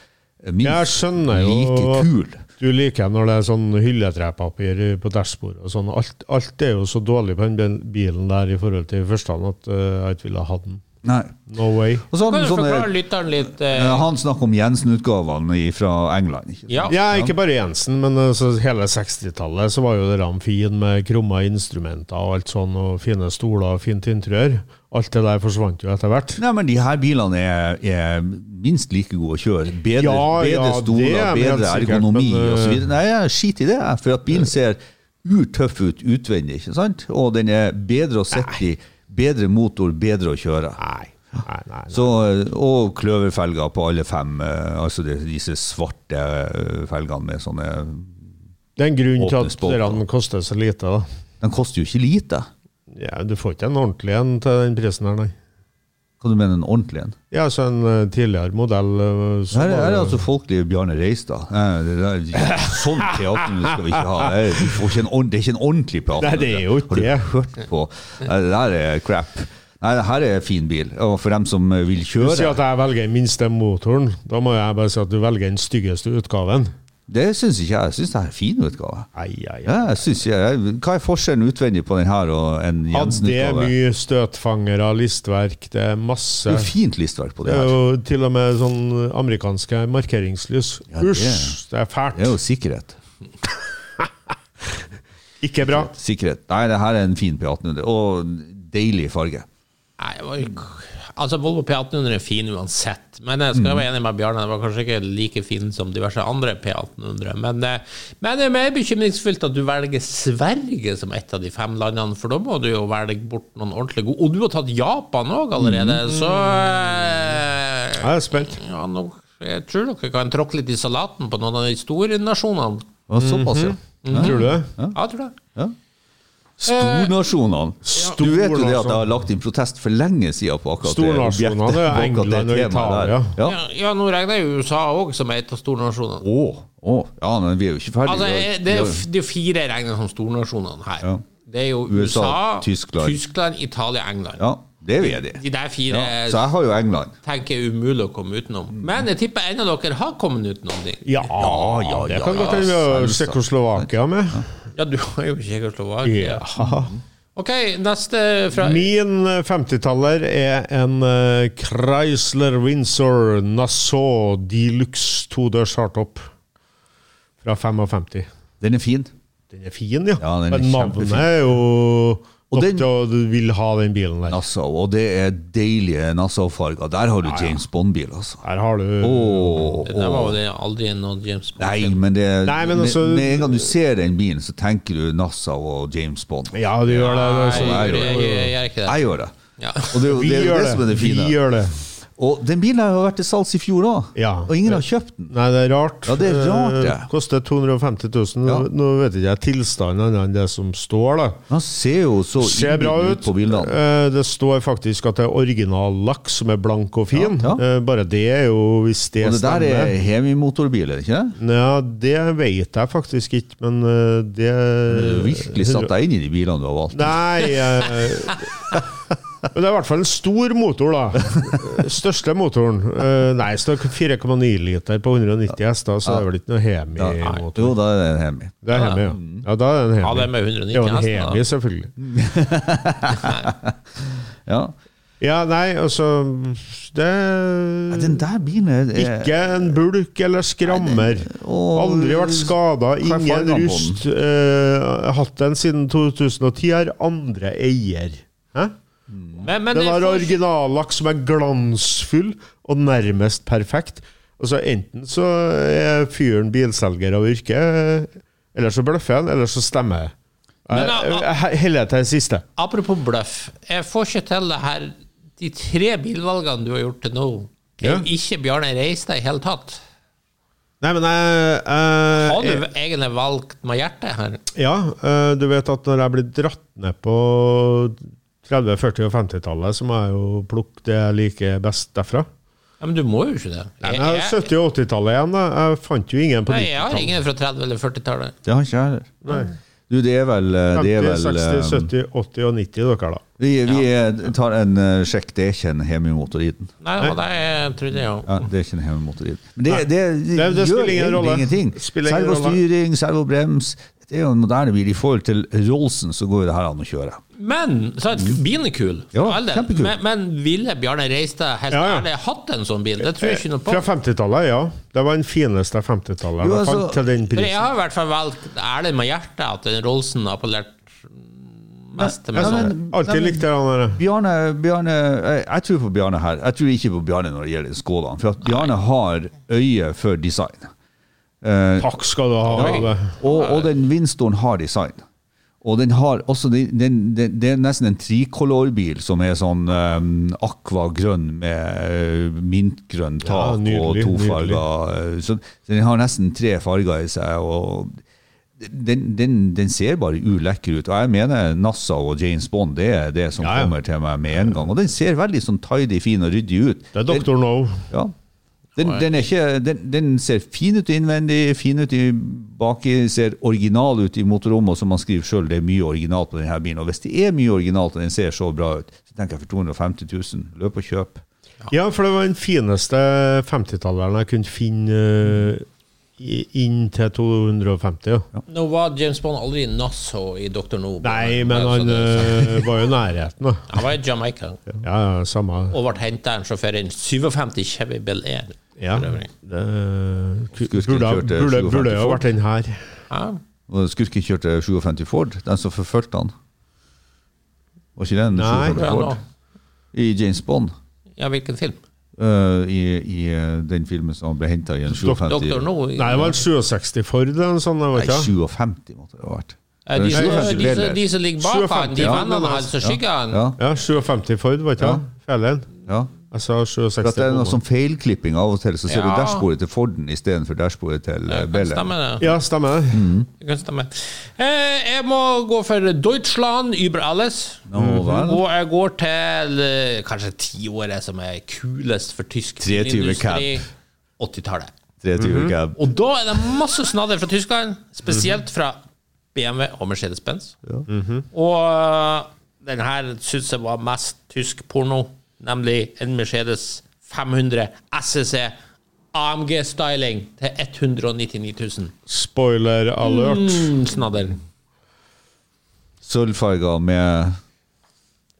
Jeg
minst
skjønner jo
like
at
kul.
Du liker når det er sånn hylletrepapir på dashbordet og sånn. Alt, alt er jo så dårlig på den bil- bilen der i forhold til førstehand at eh, jeg ikke ville ha den.
Nei.
No way.
Og så har
Kan
den
du forklare
sånne,
lytteren litt eh,
eh, han snakker om Jensen-utgavene fra England. Ikke? sant?
Ja.
Ja, ikke bare Jensen, men eh, så hele 60-tallet så var jo det ramfin med krumma instrumenter og alt sånn, og fine stoler og fint interiør. Alt det der forsvant jo etter hvert.
Nei, men de her bilene er, er minst like gode å kjøre. Bedre,
Ja,
bedre
ja, det
stoler,
er helt
bedre
sikkert,
ergonomi
men, eh,
og så videre. Nei, jeg skiter i det, jeg, for at bilen ser urtøff ut utvendig, ikke sant? Og den er bedre å sitte i, bedre motor, bedre å kjøre.
Nei, nei, nei. nei.
Så, og kløverfelger på alle fem, eh, altså de- disse svarte eh, felgene med sånne
Det er en grunn til
Åpne
at
spalter.
derne koster så lite, da.
De koster jo ikke lite.
Ja, du får ikke en ordentlig en til den prisen her, nei.
Hva du mener en ordentlig en?
Ja, så en eh, tidligere modell eh, som
Her, her er
var-
altså folkelige Bjarne Reistad. Nei, det der- Sånn teater skal vi ikke ha. Nei, Du får ikke en, ord- det er ikke en ordentlig teater.
Nei, det er jo ikke det.
Har du hørt på? Nei, det der er crap. Nei, det her er fin bil. Og for dem som eh, vil
Du sier at
kjøre,
jeg velger den minste motoren. Da må jeg bare si at du velger den styggeste utgaven.
det syns ikke jeg. Jeg syns det her er fin utgave.
Ai, ai, ai.
Ja, jeg synes jeg, hva er forskjellen utvendig på den her og en
Hadde det er
Jensen-utgave?
mye støtfangere, listverk, det er masse.
Det er jo fint listverk på
Det er
det her.
jo til og med sånn amerikanske markeringslys.
Ja, det-
Usj, det er fælt.
Det er jo sikkerhet.
Ikke bra.
Sikkerhet. Nei, det her er en fin P1800. Og deilig farge.
Nei, det var jo- altså Volvo P1800 er fin uansett, men jeg skal være enig med Bjarne. Den var kanskje ikke like fin som diverse andre P1800. Men, eh, men det er mer bekymringsfullt at du velger Sverige som et av de fem landene, for da må du jo velge bort noen ordentlig gode Og du har tatt Japan òg allerede, så eh,
Jeg er spent.
ja, nå, Jeg tror dere kan tråkke litt i salaten på noen av de store nasjonene.
Og såpass, ja.
Mhm. Tror du det?
Ja, jeg tror det.
Stornasjonene. Du vet jo det at jeg
Stornasjonene.
har lagt inn protest for lenge siden på akkurat det objektet.
Stornasjonene, det er
på akkurat det
England og
temaet
Italia.
der. Ja.
Ja, ja nå regner jeg USA òg som en av stornasjonene.
Å, å, ja, men vi er jo ikke ferdige.
Altså,
Vi har-
eh, det er jo
vi har-
f- det er jo fire jeg regner som stornasjonene her.
Ja.
Det er jo USA,
USA, Tyskland.
Italia, England.
ja, det er vi enige i.
De der fire
Ja, så jeg har jo England.
tenker jeg er umulig å komme utenom. Men jeg tipper en av dere har kommet utenom de.
Ja,
ja,
det
ja,
kan
ja,
godt hende vi har
selvsagt.
Tsjekkoslovakia med.
Ja, du har jo Tsjekkoslovakia.
Ja.
Ok, neste fra
Min eh, 50-taller er en eh, Chrysler Windsor Nassau Deluxe todørs hardtop fra 55.
Den er fin.
Den er fin, ja.
Ja, den er
Men navnet
kjempefin.
er jo nok
Og den-
til at du vil ha den bilen der.
Nassau, og det er deilige Nassau-farger. Der har du James Bond-bil, altså.
Her har du
Å,
Det var jo det aldri noen James Bond.
Nei, men det
Nei, men
med-
altså-
Med en gang du ser den bilen, så tenker du Nassau og James Bond.
Ja, du gjør det. det er sånn.
jeg,
Nei,
jeg, jeg, jeg gjør ikke det.
Jeg gjør det.
Ja.
Og det er jo
Vi
det, er jo
gjør
det som er
det.
det fine.
Vi gjør det.
Og den bilen her har vært til salgs i fjor òg,
Ja.
og ingen har kjøpt den.
Nei, det er rart.
Ja, det er rart, det.
Eh, Koster 250 000.
Ja.
Nå vet ikke jeg tilstanden annet enn det som står, da.
Han ser jo så
Ser bra
innbydende
ut.
på bildene.
Eh, Det står faktisk at det er original laks som er blank og fin.
Ja, ja.
Eh, Bare det er jo Hvis det,
Og det der
stemmer
er hemi-motorbil, er det ikke det?
Ja, det vet jeg faktisk ikke, men eh, det
Du
Eh,
har virkelig satt deg inn i de bilene du har valgt.
Nei eh, Men det er i hvert fall en stor motor, da. Største motoren. Eh, Nei, så det er 4,9 liter på 190 hester, så det er vel ikke noe
Jo,
hemi-motor.
da er det en hemi.
Det er hemi, ja.
Mm.
Ja, da er det en hemi.
Ja, det er med 190
Det er jo en
hester, da.
hemi, selvfølgelig.
Ja.
Ja, nei, altså Det
Nei, Den der bilen er, er
Ikke en bulk eller skrammer.
Eh, og-
Aldri vært skada,
er fargen
ingen
på den?
rust. Eh, hatt den siden 2010, er andre eier. Hæ?
Men, men
Den har
for-
originallakk som er glansfull og nærmest perfekt. Og så Enten så er fyren bilselger av yrke, eller så bløffer han, eller så stemmer jeg.
Men,
Jeg-
ah,
jeg- Jeg heller til det siste.
Apropos bløff. Jeg får ikke til det her De tre bilvalgene du har gjort til nå, er
Ja.
jo ikke Bjarne Reistad i hele tatt.
Nei, men jeg, Eh, jeg
Har du egentlig valgt med hjertet her?
Ja, eh, du vet at når jeg blir dratt ned på 30-, 40- og 50-tallet, så må jeg jo plukke det jeg liker best derfra.
Ja, men du må jo ikke det.
Nei, men jeg har 70- og 80-tallet igjen. da. Jeg fant jo ingen på
Nei, jeg har
90-tallet.
ingen fra 30- eller 40-tallet.
Det har ikke jeg heller.
Nei.
Du, det er vel, eh, det er
50,
vel
60,
eh,
70, 80 og 90, dere, da.
Vi, vi eh, tar en eh, sjekk. Det er ikke en hjemmemotoriden.
Nei, det var det jeg trodde, ja.
Ja, det er ikke en hjemmemotoriden. Men det, det, det,
Nei, det
gjør
spiller ingen
egentlig
rolle.
ingenting.
Spiller ingen rolle.
Servostyring, servobrems. Det er jo en moderne bil. I forhold til Rollsen så går jo det her an å kjøre.
Men sant, bilen er kul.
Ja,
for all del.
kjempekul.
Men, men ville Bjarne Reistad helt
Ja, ja.
ærlig hatt en sånn bil? Det tror jeg ikke noe på.
Fra 50-tallet, ja. Det var den fineste 50-tallet
Jo,
jeg
altså-
fant til den
For jeg
prisen.
har i hvert fall valgt ærlig med hjertet at den Rolsen appellerte mest til meg.
Ja,
sånn.
men-
Alltid
Nei, men-
likte jeg den der.
Bjarne, Bjarne jeg, jeg tror på Bjarne her. Jeg tror ikke på Bjarne når det gjelder Skålan. For at Bjarne har øye for design. Eh,
Takk skal du ha. Ole.
og, og den Winstoren har design. Og den har også den, den, den, Det er nesten en trikolorbil som er sånn eh, aqua-grønn med eh, mintgrønn
Ja,
tak
nydelig,
og to farger. eh, Så, så den har nesten tre farger i seg. og den, den, den ser bare ulekker ut. Og jeg mener NASA og James Bond det er det som
Ja, ja.
kommer til meg med en gang. Og den ser veldig sånn tidy, fin og ryddig ut.
Det er
Den-
Dr. No.
ja. Den, den, er ikke, den, den ser fin ut innvendig, fin ut i baki, ser original ut i motorrommet. Og som han skriver sjøl, det er mye originalt på denne bilen. Og hvis det er mye originalt, og den ser så bra ut, så tenker jeg for 250 000, løp og kjøp.
Ja, for det var den fineste 50-talleren jeg kunne finne eh, i- inn til 250. Ja.
Nå var James Bond aldri Nasso i Dr. No.
Nei,
altså,
men han eh, var jo i nærheten, da.
Han var i Jamaica
Ja, ja, samme
og ble hentet av en sjåfør i en 57 Chevy Bel Air.
ja.
For øvrig.
Det, ku-
Skulle
burde
kjørt, eh,
burde, burde jo
57
vært den her.
Ja.
Og Skurken kjørte 57 Ford, den som forfulgte han. Var ikke den
Nei.
57
Ja, nå.
Ford? I James Bond.
ja, hvilken film?
øh, i, I øh, den filmen som han ble henta i en 57
Dr. No? i-
Nei, det var en 67 Ford eller noe sånt. det var
Nei,
ikke det?
57 måtte det ha vært.
Eh, de, som- de,
57
som-
Bel Air.
de som ligger bak han, de
57, ja.
vennene hans som skygger
Ja,
han.
Ja, 57 Ford, var ikke det? Feil en.
ja.
Jeg sa 67.
For at det er noe
bommer.
sånn feilklipping av og til, så ser
Ja.
du dashbordet til Forden istedenfor dashbordet til eh,
Kan
Bell.
stemme det.
Ja, stemmer det.
Mm.
Det kan stemme. Eh, jeg må gå for Deutschland über alles.
Nå vel.
Og jeg går til eh, kanskje tiåret som er kulest for tysk
23
bilindustri. 80-tallet.
Mhm.
23 cab.
Og da er det masse snadder fra Tyskland, spesielt fra BMW og Mercedes-Benz. Og eh, den her syns jeg var mest tysk porno, nemlig en Mercedes 500 SEC AMG-styling til 199 000.
Spoiler alert.
Mm, snadder.
Sølvfarger med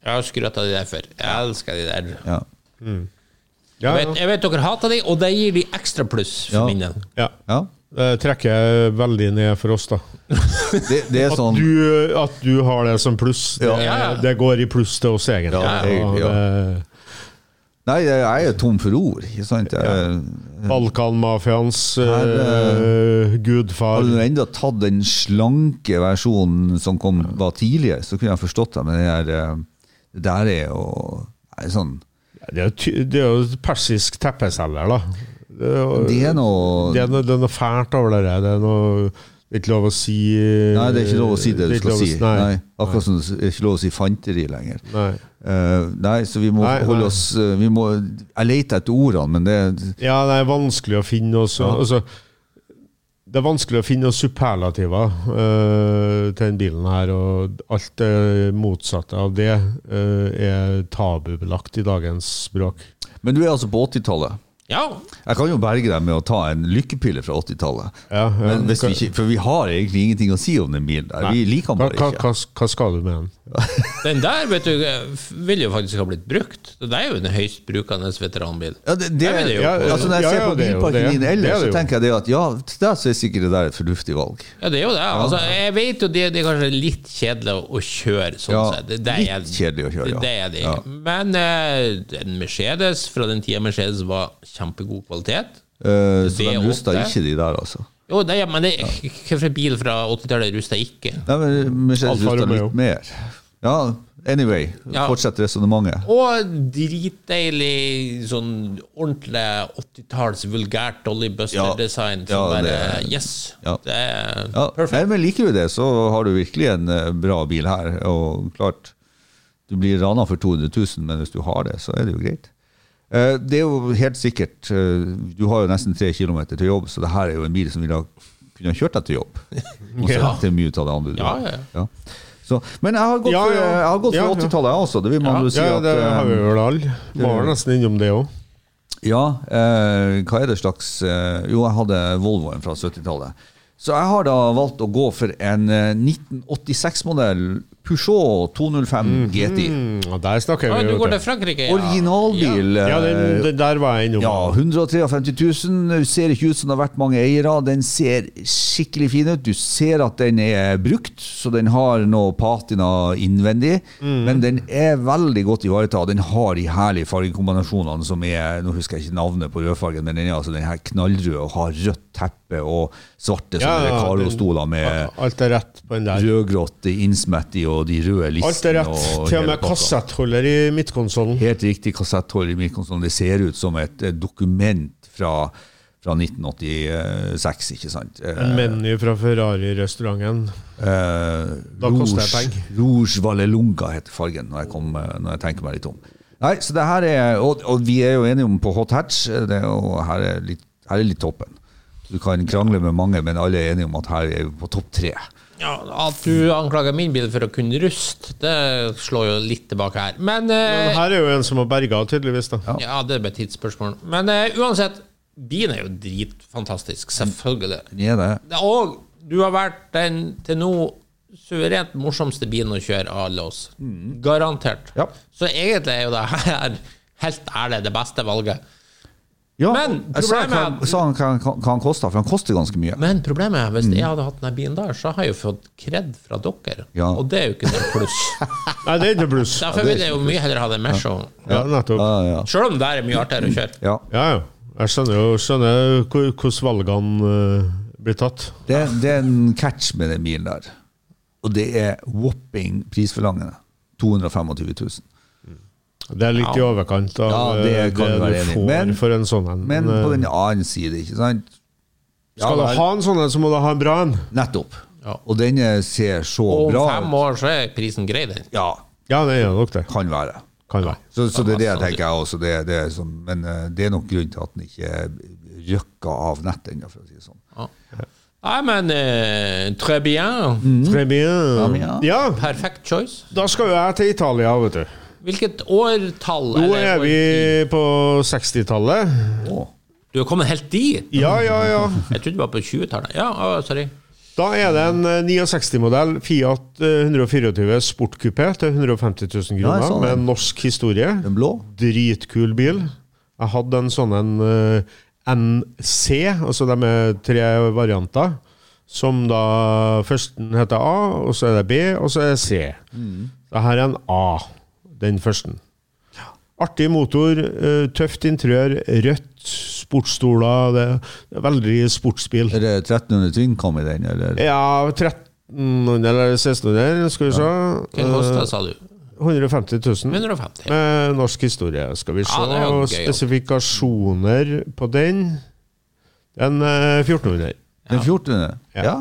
Jeg har skrøt av de der før. Jeg elsker de der.
ja.
Ja,
Jeg vet,
ja.
jeg vet dere hater de, og det gir de ekstra pluss for
Ja.
min del.
ja.
ja.
Det trekker veldig ned for oss, da.
Det, det er
At
sånn
du, eh, at du har det som pluss, det,
Ja.
Ja, ja.
det går i pluss til oss, egentlig.
Ja, egentlig, ja.
Og, eh,
Nei, jeg er tom for ord, ikke sant? Jeg
Balkanmafiaens eh, gudfar.
hadde du enda tatt den slanke versjonen som kom, var tidligere, så kunne jeg forstått det, men det der, eh, det der er jo nei, sånn
Det er, jo ty det er jo persisk teppeselger, da. Det er, jo-
Det er noe
det er noe, det er noe fælt over det der. Det er noe det er ikke lov å si eh,
Nei, det er ikke lov å si det du
er ikke
skal
lov å
si.
Nei.
Nei, akkurat som det er ikke lov å si fanteri lenger.
Nei.
Eh, nei, så vi må
Nei,
holde
nei.
oss eh, vi må, Jeg leter etter ordene, men det
Ja, det er vanskelig å finne også. Altså, det er vanskelig å finne noen superlativer eh, til den bilen her, og alt det motsatte av det eh, er tabubelagt i dagens språk.
Men du er altså på 80-tallet.
Ja,
Jeg kan jo berge deg med å ta en lykkepille fra 80-tallet.
Ja, ja.
Men hvis vi ikke- for vi har egentlig ingenting å si om den bilen. der. Vi liker den
Hva,
bare
hva,
ikke.
hva, hva skal du med den?
den der vet du, eh, vil jo faktisk ha blitt brukt. Det er jo en høyst brukende veteranbil.
Ja, det, det,
Nei, men det er jo-
altså Når jeg
Ja,
ser
ja,
på
det er jo
bilparken
det.
din
Det
ellers,
er det
så
jo.
tenker jeg det at ja, da så er sikkert det der et fornuftig valg.
Ja, det er jo det. Altså, jeg vet jo det, det er kanskje litt kjedelig å kjøre sånn
Ja,
sett. Det, det er,
litt kjedelig å kjøre, ja.
Det, det er det.
Ja.
Men eh, en Mercedes fra den tida Mercedes var kjempegod kvalitet
Eh, så
Det
de
er
rusta
åtte.
ikke de der, altså.
Jo, det, er- men det, hvilken bil fra 80-tallet rusta ikke?
Nei, men Mercedes
Alfa
rusta
Romeo.
litt mer. Ja, anyway.
Ja.
Fortsett resonnementet.
Og dritdeilig, sånn ordentlig 80-talls vulgært Dolly
Ja.
Buster-design. som
Ja, det-
bare, yes,
Ja.
det er
Ja. Nei, men liker du det, så har du virkelig en eh, bra bil her. Og klart, du blir rana for 200 000, men hvis du har det, så er det jo greit. Eh, Det er jo helt sikkert eh, Du har jo nesten tre kilometer til jobb, så det her er jo en bil som ville ha kunnet kjørt deg til jobb. Og så
Ja.
til mye av det andre du
Ja,
har.
ja, ja.
Ja. Så, men jeg har gått
Ja,
for,
ja.
jeg har gått
Ja,
for
ja.
80-tallet, jeg også. Det vil man
Ja.
jo si
Ja,
at
det har vi
eh,
vel alle. Var nesten innom det òg.
Ja, eh, hva er det slags eh, Jo, jeg hadde Volvoen fra 70-tallet. Så jeg har da valgt å gå for en eh, 1986-modell Peugeot 205 GTI.
Mm, der snakker
Ja,
vi
du
jo.
går til
vet du.
Frankrike? ja.
Originalbil.
Ja,
eh,
den, den der var jeg innom.
Ja, 153 000. Ser ikke ut som det har vært mange eiere. Den ser skikkelig fin ut. Du ser at den er brukt, så den har noe patina innvendig.
Mm.
Men den er veldig godt ivaretatt. Den har de herlige fargekombinasjonene som er Nå husker jeg ikke navnet på rødfargen, men den er altså den her knallrød og har rødt teppe og svarte
Ja,
sånne
ja,
Recaro-stoler med
Alt er rett på den der.
rødgrått innsmett i og de røde listene.
Alt er rett.
og
Til og
hele
med
pakka.
kassettholder i midtkonsollen.
Helt riktig kassettholder i midtkonsollen. Det ser ut som et eh, dokument fra, fra 1986, ikke sant? Eh,
En meny fra Ferrari-restauranten.
eh,
Da koster det penger.
Rouge Valelunga heter fargen, når jeg, kom, eh, når jeg tenker meg litt om. Nei, så det her er, og, og vi er jo enige om på hot hatch, eh, det, er jo- her er, litt, her er litt toppen. Du kan krangle med mange, men alle er enige om at her er vi på topp tre.
Ja, At du anklager min bil for å kunne ruste, det slår jo litt tilbake her. Men
Men
eh,
her er jo en som har berga, tydeligvis. da.
Ja, det ble et tidsspørsmål. Men eh, uansett, bilen er jo dritfantastisk. Selvfølgelig.
Den er det.
Det- Og du har vært den til nå suverent morsomste bilen å kjøre av alle oss.
Mm.
Garantert.
Ja.
Så egentlig er jo det her helt ærlig det beste valget.
Ja,
Men
jeg sa,
problemet
hva,
er at-
sa han hva, hva han kosta, for han koster ganske mye.
Men problemet er,
Mm.
hvis jeg hadde hatt denne bilen der, så har jeg jo fått kred fra dere.
Ja.
Og det er jo ikke noe pluss.
Nei, det er ikke bluss.
Derfor vil jeg jo mye heller ha den Meshoen.
Ja, nettopp.
Ja, ja.
Sjøl om det er mye artigere å kjøre.
ja.
Ja, ja. Jeg skjønner jo skjønner hvor- hvordan valgene eh, blir tatt.
Det, det er en catch med den bilen der. Og det er whopping prisforlangende. 225 000.
Det er litt i overkant av
Ja, det
eh, det,
kan du være enig
du
i.
får
Men-
for en sånn en.
Men
eh,
på den annen side, ikke sant? Ja,
skal
vel,
du ha en sånn en, så må du ha en bra en.
Nettopp.
Ja.
Og denne ser så
Og om
bra
fem
ut.
år så er prisen grei, den.
Ja,
Ja, det er nok det.
kan være.
Kan være.
Så, så det er det jeg
Ja,
tenker jeg også. Det, det er som, men eh, det er nok grunnen til at den ikke røkka av nett ennå, for å si det sånn.
Ja. Nei, men eh, très bien.
Mm.
Très bien.
Ja, men ja.
Ja,
Perfect choice.
da skal jo jeg til Italia, vet du.
Hvilket årtall?
Nå
eller
er vi på 60-tallet.
Åh.
Du er kommet helt dit?
Ja, ja, ja.
Jeg trodde det var på 20-tallet. Ja, å, sorry.
Da er det en eh, 69-modell Fiat eh, 124 sportkupé til 150 000
Ja, jeg
kroner,
så den.
med norsk historie.
Den blå?
Dritkul bil. Jeg hadde en sånn en eh, NC, altså de er tre varianter. Som da Førsten heter A, og så er det B, og så er det C. Dette er en A, den førsten. Artig motor, eh, tøft interiør, rødt, sportsstoler. Det det er veldig sportsbil.
Er det 1300 tynnkom i den, eller?
Ja, 1300 eller 1600, skal vi se.
Hva kosta det, sa du?
Eh, 150 000.
150?
Med norsk historie, skal vi se.
Ja, det er jo gøy, altså. ja.
Spesifikasjoner på den. Den eh, 1400.
Den 14.?
Ja.
Ja.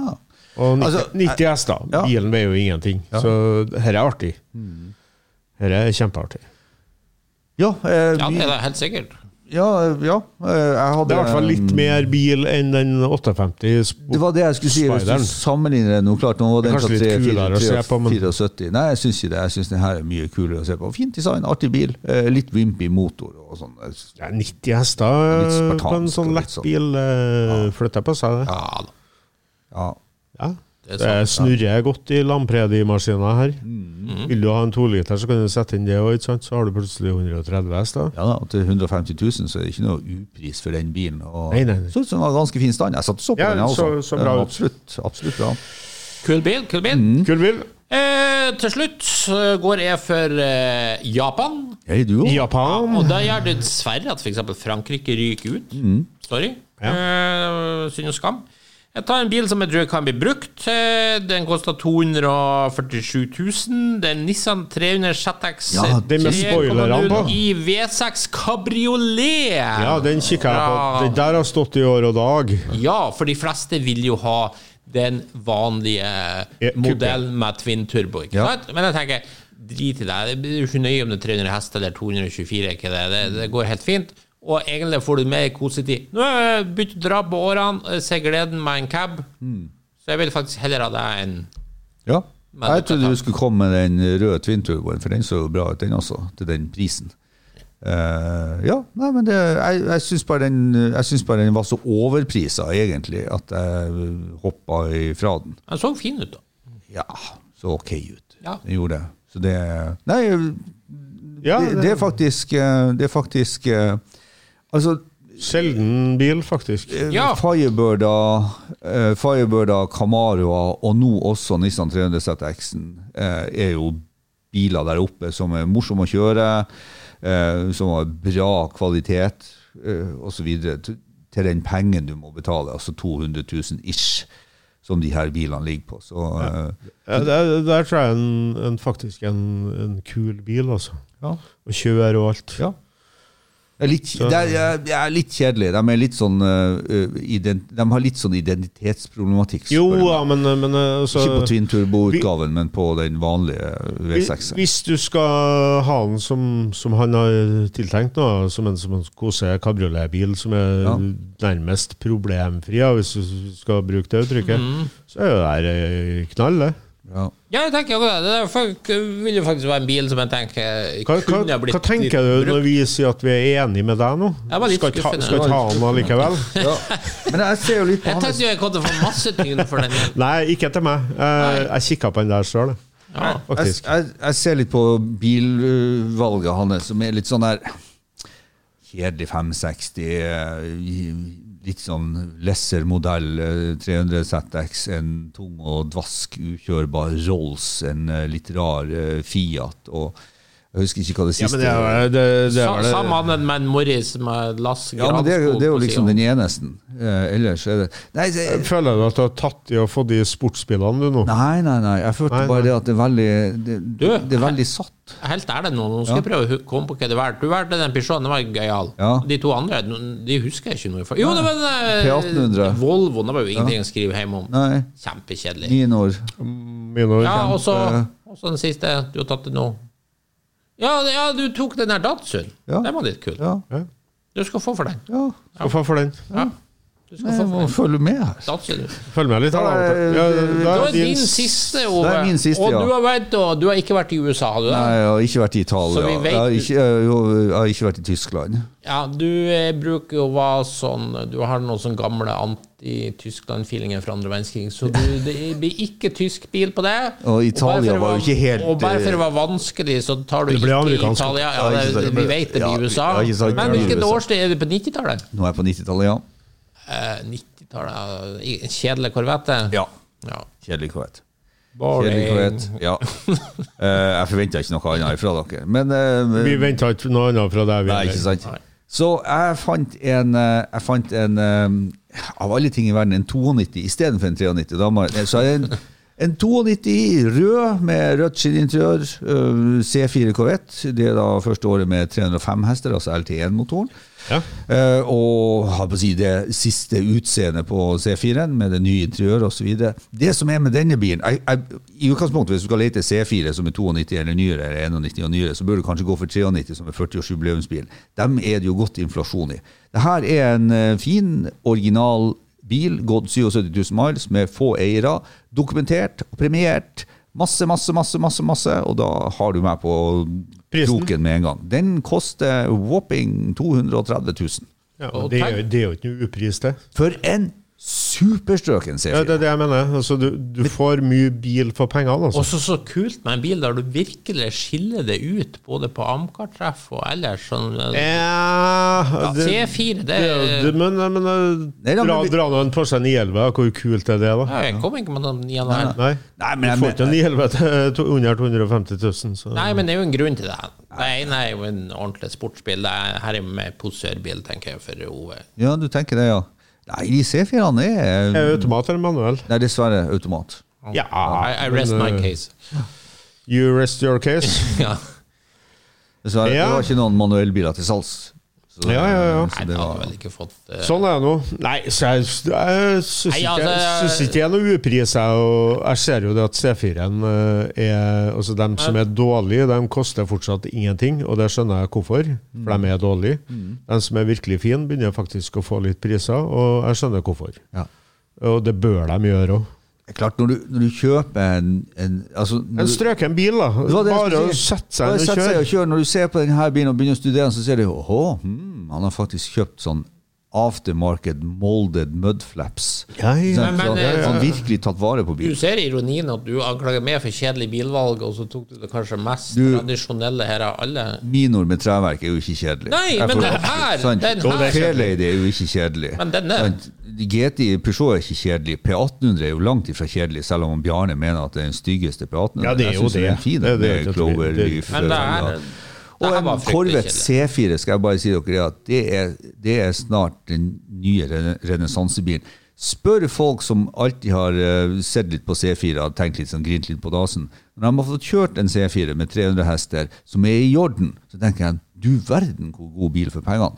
Og 90,
Altså,
90 hester.
ja.
Bilen veier jo ingenting. Så dette er artig. Dette er kjempeartig.
Ja, eh,
Ja,
vi-
det er det helt sikkert.
Ja, ja. eh, Jeg hadde
Det er i hvert fall litt mer bil enn den 850
Det var det jeg skulle si. Hvis
Spideren.
du sammenligner det nå, klart nå var
Det er
den fra
kanskje litt
3,
kulere å
4,
se på, men-
74. Nei, jeg syns ikke det. Jeg syns den her er mye kulere å se på. Fint design, artig bil. eh, Litt wimpy motor og sånn. Jeg synes-
Ja, 90 hester
Litt spartansk
på en sånn
og litt sånn.
lettbil eh, flytter på seg. det.
Ja da.
Ja.
Ja.
Det er
Det
sant.
snurrer godt i Lampredi-maskina her.
Mm.
Vil du ha en toliter, så kan du sette inn det òg, så har du plutselig 130 hester.
ja da, og til 150 000 så er det ikke noe upris for den bilen. Og
Nei, nei, nei.
Så ut som den var ganske fin stand. Jeg satt og så på
Ja,
den, jeg
så-
også.
så
Den
bra
var
ut.
Absolutt, absolutt bra.
Kul bil, kul bil.
Mm.
Kul bil.
Eh, til slutt eh, går jeg for eh, Japan.
Hei, du òg.
Japan.
Og da gjør det dessverre at f.eks. Frankrike ryker ut.
Mm.
Sorry. Eh, synd og skam. Jeg tar en bil som jeg tror kan bli brukt. Eh, Den koster 247 000. Det er en Nissan 300 ZX
Ja,
den med spoilerne på.
i V6 Cabriolet.
Ja, den kikker jeg
Ja.
på. Den der har stått i år og dag.
Ja, for de fleste vil jo ha den vanlige
kupé.
modellen med twin turbo. Ikke
Ja.
sant? Men jeg tenker, drit i det. Det blir jo ikke nøye om det er 300 hester eller 224. Ikke det. Det, det går helt fint. Og egentlig får du mer kosetid. Nå har jeg begynt å dra på årene, eh, ser gleden med en cab.
Hmm.
Så jeg vil faktisk heller ha det enn
Ja.
Men det-
Jeg trodde du skulle komme med den røde twin-turboen, for den så jo bra ut, den også, til den prisen. Eh, ja, nei, men det, jeg, jeg syns bare, den- jeg syns bare den var så overprisa, egentlig, at jeg hoppa ifra den.
Den så sånn fin ut, da.
Ja, så ok ut.
Ja.
Den gjorde det. Så det Nei,
Ja,
det, det er faktisk eh, Det er faktisk eh, Altså,
Sjelden bil, faktisk.
Ja.
Firebirda, eh, Firebirda, Camaroa og nå også Nissan 300 ZX-en eh, er jo biler der oppe som er morsomme å kjøre, eh, som har bra kvalitet eh, osv. til den pengen du må betale, altså 200 000 ish, som de her bilene ligger på. Så eh,
Ja, Der, der tror jeg en, en, faktisk en, en kul bil, altså.
ja.
Å kjøre og alt.
Ja. Det er litt, det er, eh, det er litt kjedelig. De, er litt sånn, eh, ident, de har litt sånn identitetsproblematikk.
Jo
spør du meg.
da, men, men altså
Ikke på E Twin Turbo-utgaven, men på den vanlige V6.
Hvis du skal ha den som, som han har tiltenkt nå, som en, som en kose kabrioletbil som er
Ja.
nærmest problemfri, ja, hvis du skal bruke det uttrykket,
Mm.
så er jo det her eh, knall, det.
Ja.
Ja, jeg tenker også det. Det er folk- eh, vil jo faktisk være en bil som jeg tenker
Hva, hva,
kunne ha blitt
hva tenker du når vi sier at vi er enige med deg nå?
Jeg var litt
skal ta,
skuffende.
skal ta den allikevel?
Ja. Men jeg ser jo litt på
Jeg
hans
tenkte jo jeg kom til å få masse tyn for den.
Nei, ikke til meg. Eh, jeg kikka på den der sjøl,
Ja.
jeg,
faktisk.
jeg, jeg ser litt på bilvalget hans, som er litt sånn der Kjedelig 560, eh, litt sånn lesser modell, eh, 300 ZX, en tung og dvask ukjørbar Rolls, en eh, litt rar eh, Fiat og Jeg husker ikke hva det
Ja,
siste
men det, er- det, det,
Sa-
var det.
Samme annet med en Morris med Lass
Ja, men det, er jo-
Granskog
det er jo
på
liksom
siden.
den enesten. Eh, ellers er det Nei, det,
Føler du at du har tatt i og fått de sportsbilene, du nå?
Nei, nei, nei. Jeg følte
Nei, nei.
bare det at det er veldig Det,
Du,
det er veldig satt.
Helt ærlig nå, nå skal jeg prøve å hu- komme på hva det var. Du valgte den Peugeoten, den var gøyal.
Ja.
De to andre, no- de husker jeg ikke noe for. Jo, det var den eh,
P1800.
Volvoen, det var jo ingenting å skrive hjem om.
Nei.
Kjempekjedelig.
Nienor.
Mine år.
Ja, og så og så den siste, du har tatt det nå. Ja, det- ja du tok den der Datsun.
Ja.
Den var litt kul.
Ja.
Du skal få for den.
ja.
Skal få for den.
Ja. Du skal
Nei,
få
Jeg må
for den.
følge med her.
Datsun.
Følg med litt. her,
Da
da.
er-
Ja,
Det
da
var
er
din
din
siste, Ove.
Det er min siste, ja.
Og du har, vært, og du har ikke vært i USA, har du det?
Nei, jeg har ikke vært i Italia.
Så vi vet-
Jeg, har ikke, jeg, har- jeg har ikke vært i Tyskland.
Ja, du eh, bruker jo å være sånn Du har noen sånn gamle anti-Tyskland-feelingen fra andre verdenskrig, så du, det blir ikke tysk bil på det.
Og Italia
bare for å
var jo
være-
ikke helt, eh,
Og bare for det var vanskelig, så tar du
Det ble
ikke
amerikansk.
Italia. Ja,
Ja,
det,
ikke sant.
vi vet det
Ja,
blir USA.
ja, ikke sant.
Men
Det blir
hvilket
USA.
årsted er det på 90-tallet?
Nå er jeg på 90-tallet, ja.
Eh, 90-tallet eh, i- Kjedelig korvette?
ja.
ja.
Kjedelig korrekt. Kjedelig
Boring.
korrekt. Ja. Eh, jeg forventa ikke noe annet fra dere. Men eh,
Vi venta ikke noe annet fra deg. vi
Nei,
heller.
ikke sant? Så jeg fant en, eh, jeg fant en eh, Av alle ting i verden, en 92 istedenfor en 93. Da må, jeg- så er det en, en 92 rød med rødt skinninteriør, eh, C4 Corvette. Det er da første året med 305 hester, altså LT1-motoren.
Ja.
Eh, og har på å si det siste utseendet på C4-en, med det nye interiøret osv. Det som er med denne bilen jeg, jeg, I utgangspunktet, hvis du skal lete C4 som er 92 eller nyere, eller 91 og nyere, så bør du kanskje gå for 93 som er 40-årsjubileumsbil. Dem er det jo godt inflasjon i. Dette er en eh, fin, original bil, gått 77 000 miles, med få eiere. Dokumentert og premiert. Masse, masse, masse, masse, masse, og da har du meg på
Prisen?
kroken med en gang. Den koster whopping 230 000.
Ja,
Og
men det, er,
tenk-
jo- det er jo ikke noe upris, det.
For en superstrøken
Ja,
C4!
det er det jeg mener. Altså, du, du får mye bil for pengene, altså.
Også så kult med en bil der du virkelig skiller det ut, både på Amcar-treff og ellers. Sånn, eh,
Ja,
C4, det,
det er jo- det- Men, men eh,
Nei, da,
dra,
men vi-
dra nå en Porsche 911, hvor kult er det, da?
Ja, Jeg kom ikke med noen igjen her.
Nei,
Nei, men
du
jeg
får ikke en
mener-
911 til eh, to- under 250 000, så
Nei, men det er jo en grunn til det. Det ene er jo en ordentlig sportsbil. Det er, her er med posørbil, tenker jeg, for Ove.
Ja, du tenker det, ja. Nei, de C4-ene er
Er det automat eller manuell?
Nei, dessverre automat.
Ja,
I, I rest my
men, eh,
case.
You rest your case.
Ja.
Dessverre,
Ja.
Det var ikke noen manuellbiler til salgs. Så,
Ja, ja, ja.
så
Nei,
det
det hadde
var,
vel ikke fått eh,
Sånn er det nå. Nei, så jeg, jeg syns
Nei,
ikke
altså,
jeg syns ikke det er noe upris. Jeg, og jeg ser jo det at C4-en er Altså, dem som er dårlige, de koster fortsatt ingenting, og det skjønner jeg hvorfor, for de er dårlige.
Mm.
De som er virkelig fine, begynner faktisk å få litt priser, og jeg skjønner hvorfor.
ja.
Og det bør de gjøre òg.
Det er klart, når du, når du kjøper en, en altså, når
En
du-
strøken bil, da.
Det var det jeg
Bare
skulle
å
si.
sette
Bare
seg
sette
ned
seg
og
og kjøre. Når du ser på denne bilen og begynner å studere, den, så ser du åhå, hmm, han har faktisk kjøpt sånn aftermarket molded mudflaps.
Ja, ja.
Sånn,
Men-
så
men,
han har virkelig tatt vare på
Du
bilen.
ser ironien at du anklager meg for kjedelig bilvalg, og så tok du det kanskje mest
Du-
tradisjonelle her av alle.
Minor med treverk er jo ikke kjedelig.
Nei,
Jeg
men
får
den
absolutt-
her-
sant?
den her- Jo, det er kjedelig.
Fairlady er jo ikke kjedelig.
Men denne-
Sant? GT i Peugeot er ikke kjedelig. P1800 er jo langt ifra kjedelig, selv om Bjarne mener at det er den styggeste P1800.
Ja, det er
Jeg
jo
synes den
det. Det-
fin,
det
den sånn
er ikke
med
et tvil.
Clover
Det-
Leaf,
Men det er,
ja.
det
Og
her
en
var fryktelig
Corvette
kjedelig.
C4 skal jeg bare si dere at det er, det er snart den nye rene- renessansebilen. Spør folk som alltid har eh, sett litt på C4 og tenkt litt sånn grint litt på dasen. Når de har fått kjørt en C4 med 300 hester, som er i orden, så tenker jeg du verden hvor god bil for pengene.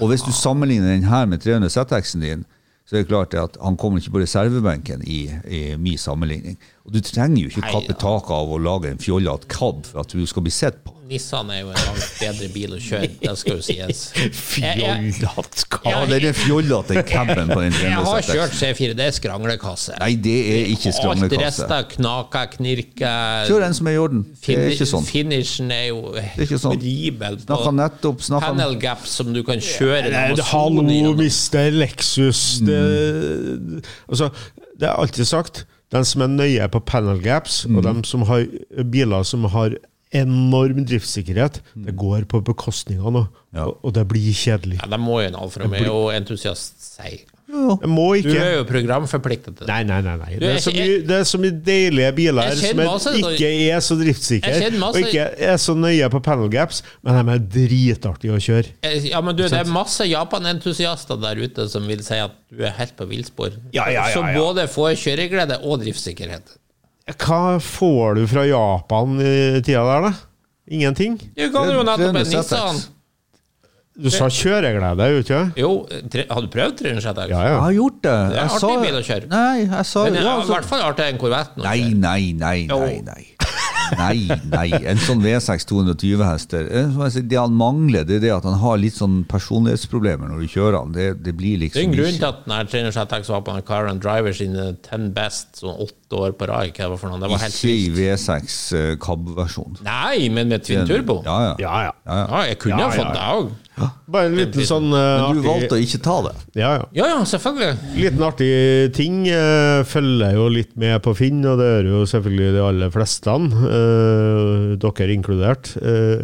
Og hvis du sammenligner den her med 300 ZX-en din, så er det klart at han kommer ikke på reservebenken i, i min sammenligning. Og du trenger jo ikke
Nei,
kappe
ja.
taket av å lage en fjollete cab for at du skal bli sett på.
Nissan er jo en langt bedre bil å kjøre, det skal jo sies. Jeg- jeg-
Fjollatt
Ja,
Ja,
kar.
den er fjollete, den campen på den
Jeg har
306.
kjørt C4, det er sranglekasse.
Nei, det er ikke
Alt
skranglekasse.
resten knaker, knirker
Kjør en som er i orden. Det er
Fini-
ikke sånn.
Finishen er jo
er ikke sånn.
horribel. på
Snakka nettopp snakka om-
Panel gaps som du kan kjøre
Nei,
en
det-
Amazon
Hallo,
gjennom.
mister Lexus. Det, altså, det er alltid sagt. De som er nøye på panel gaps, og
Mm.
de som har biler som har enorm driftssikkerhet,
Mm.
det går på bekostning av noe. Og, og det blir kjedelig.
Ja, det må jo en Alfa Romeo-entusiast si.
Det må
Du
ikke
er jo programforpliktet til det.
Nei, nei, nei. nei. Det,
jeg
er så
kjen-
mye, det er så mye deilige biler
Jeg kjenner
som er,
masse-
ikke er så
Jeg
driftssikre,
kjenner masse-
og ikke er så nøye på panel gaps, men de er dritartige å kjøre.
Eh, Ja, men du, det er masse Japan-entusiaster der ute som vil si at du er helt på villspor.
Ja, ja, ja,
Så
ja.
både får kjøreglede og driftssikkerhet.
Hva får du fra Japan i tida der, da? Ingenting?
Du kan jo nettopp en
300
Nissan.
ZX.
Du sa kjøreglede, gjorde du ikke? det?
Jo, tre, har du prøvd 306?
Ja,
Jeg
ja.
har gjort det.
er
Jeg
artig
sa-
bil å kjøre.
Nei, jeg sa
Den er
ja,
i
så-
hvert fall artigere enn Corvetten. å
Nei,
kjøre.
nei, nei, nei.
Jo.
nei. Nei, nei. En sånn V6 220 hester eh, som jeg sier, Det han mangler, det er det at han har litt sånn personlighetsproblemer når du kjører han. Det, det blir
Det er
liksom
en grunn
ikke-
til at den her 306 var på den Car and Driver sine 10 best sånn åtte år på rad. Hva det var for noe? Det var helt
Ikke i V6 eh, cab-versjon.
Nei, men med Twin Turbo? Ja,
Ja, ja.
ja, ja.
jeg kunne ha
Ja,
fått
ja,
det òg.
Bare en liten sånn eh,
Men du valgte
artig
å ikke ta det.
ja, ja.
Ja, ja, selvfølgelig.
Liten artig ting. eh, følger jo litt med på Finn, og det gjør jo selvfølgelig de aller fleste, eh, dere inkludert. Eh,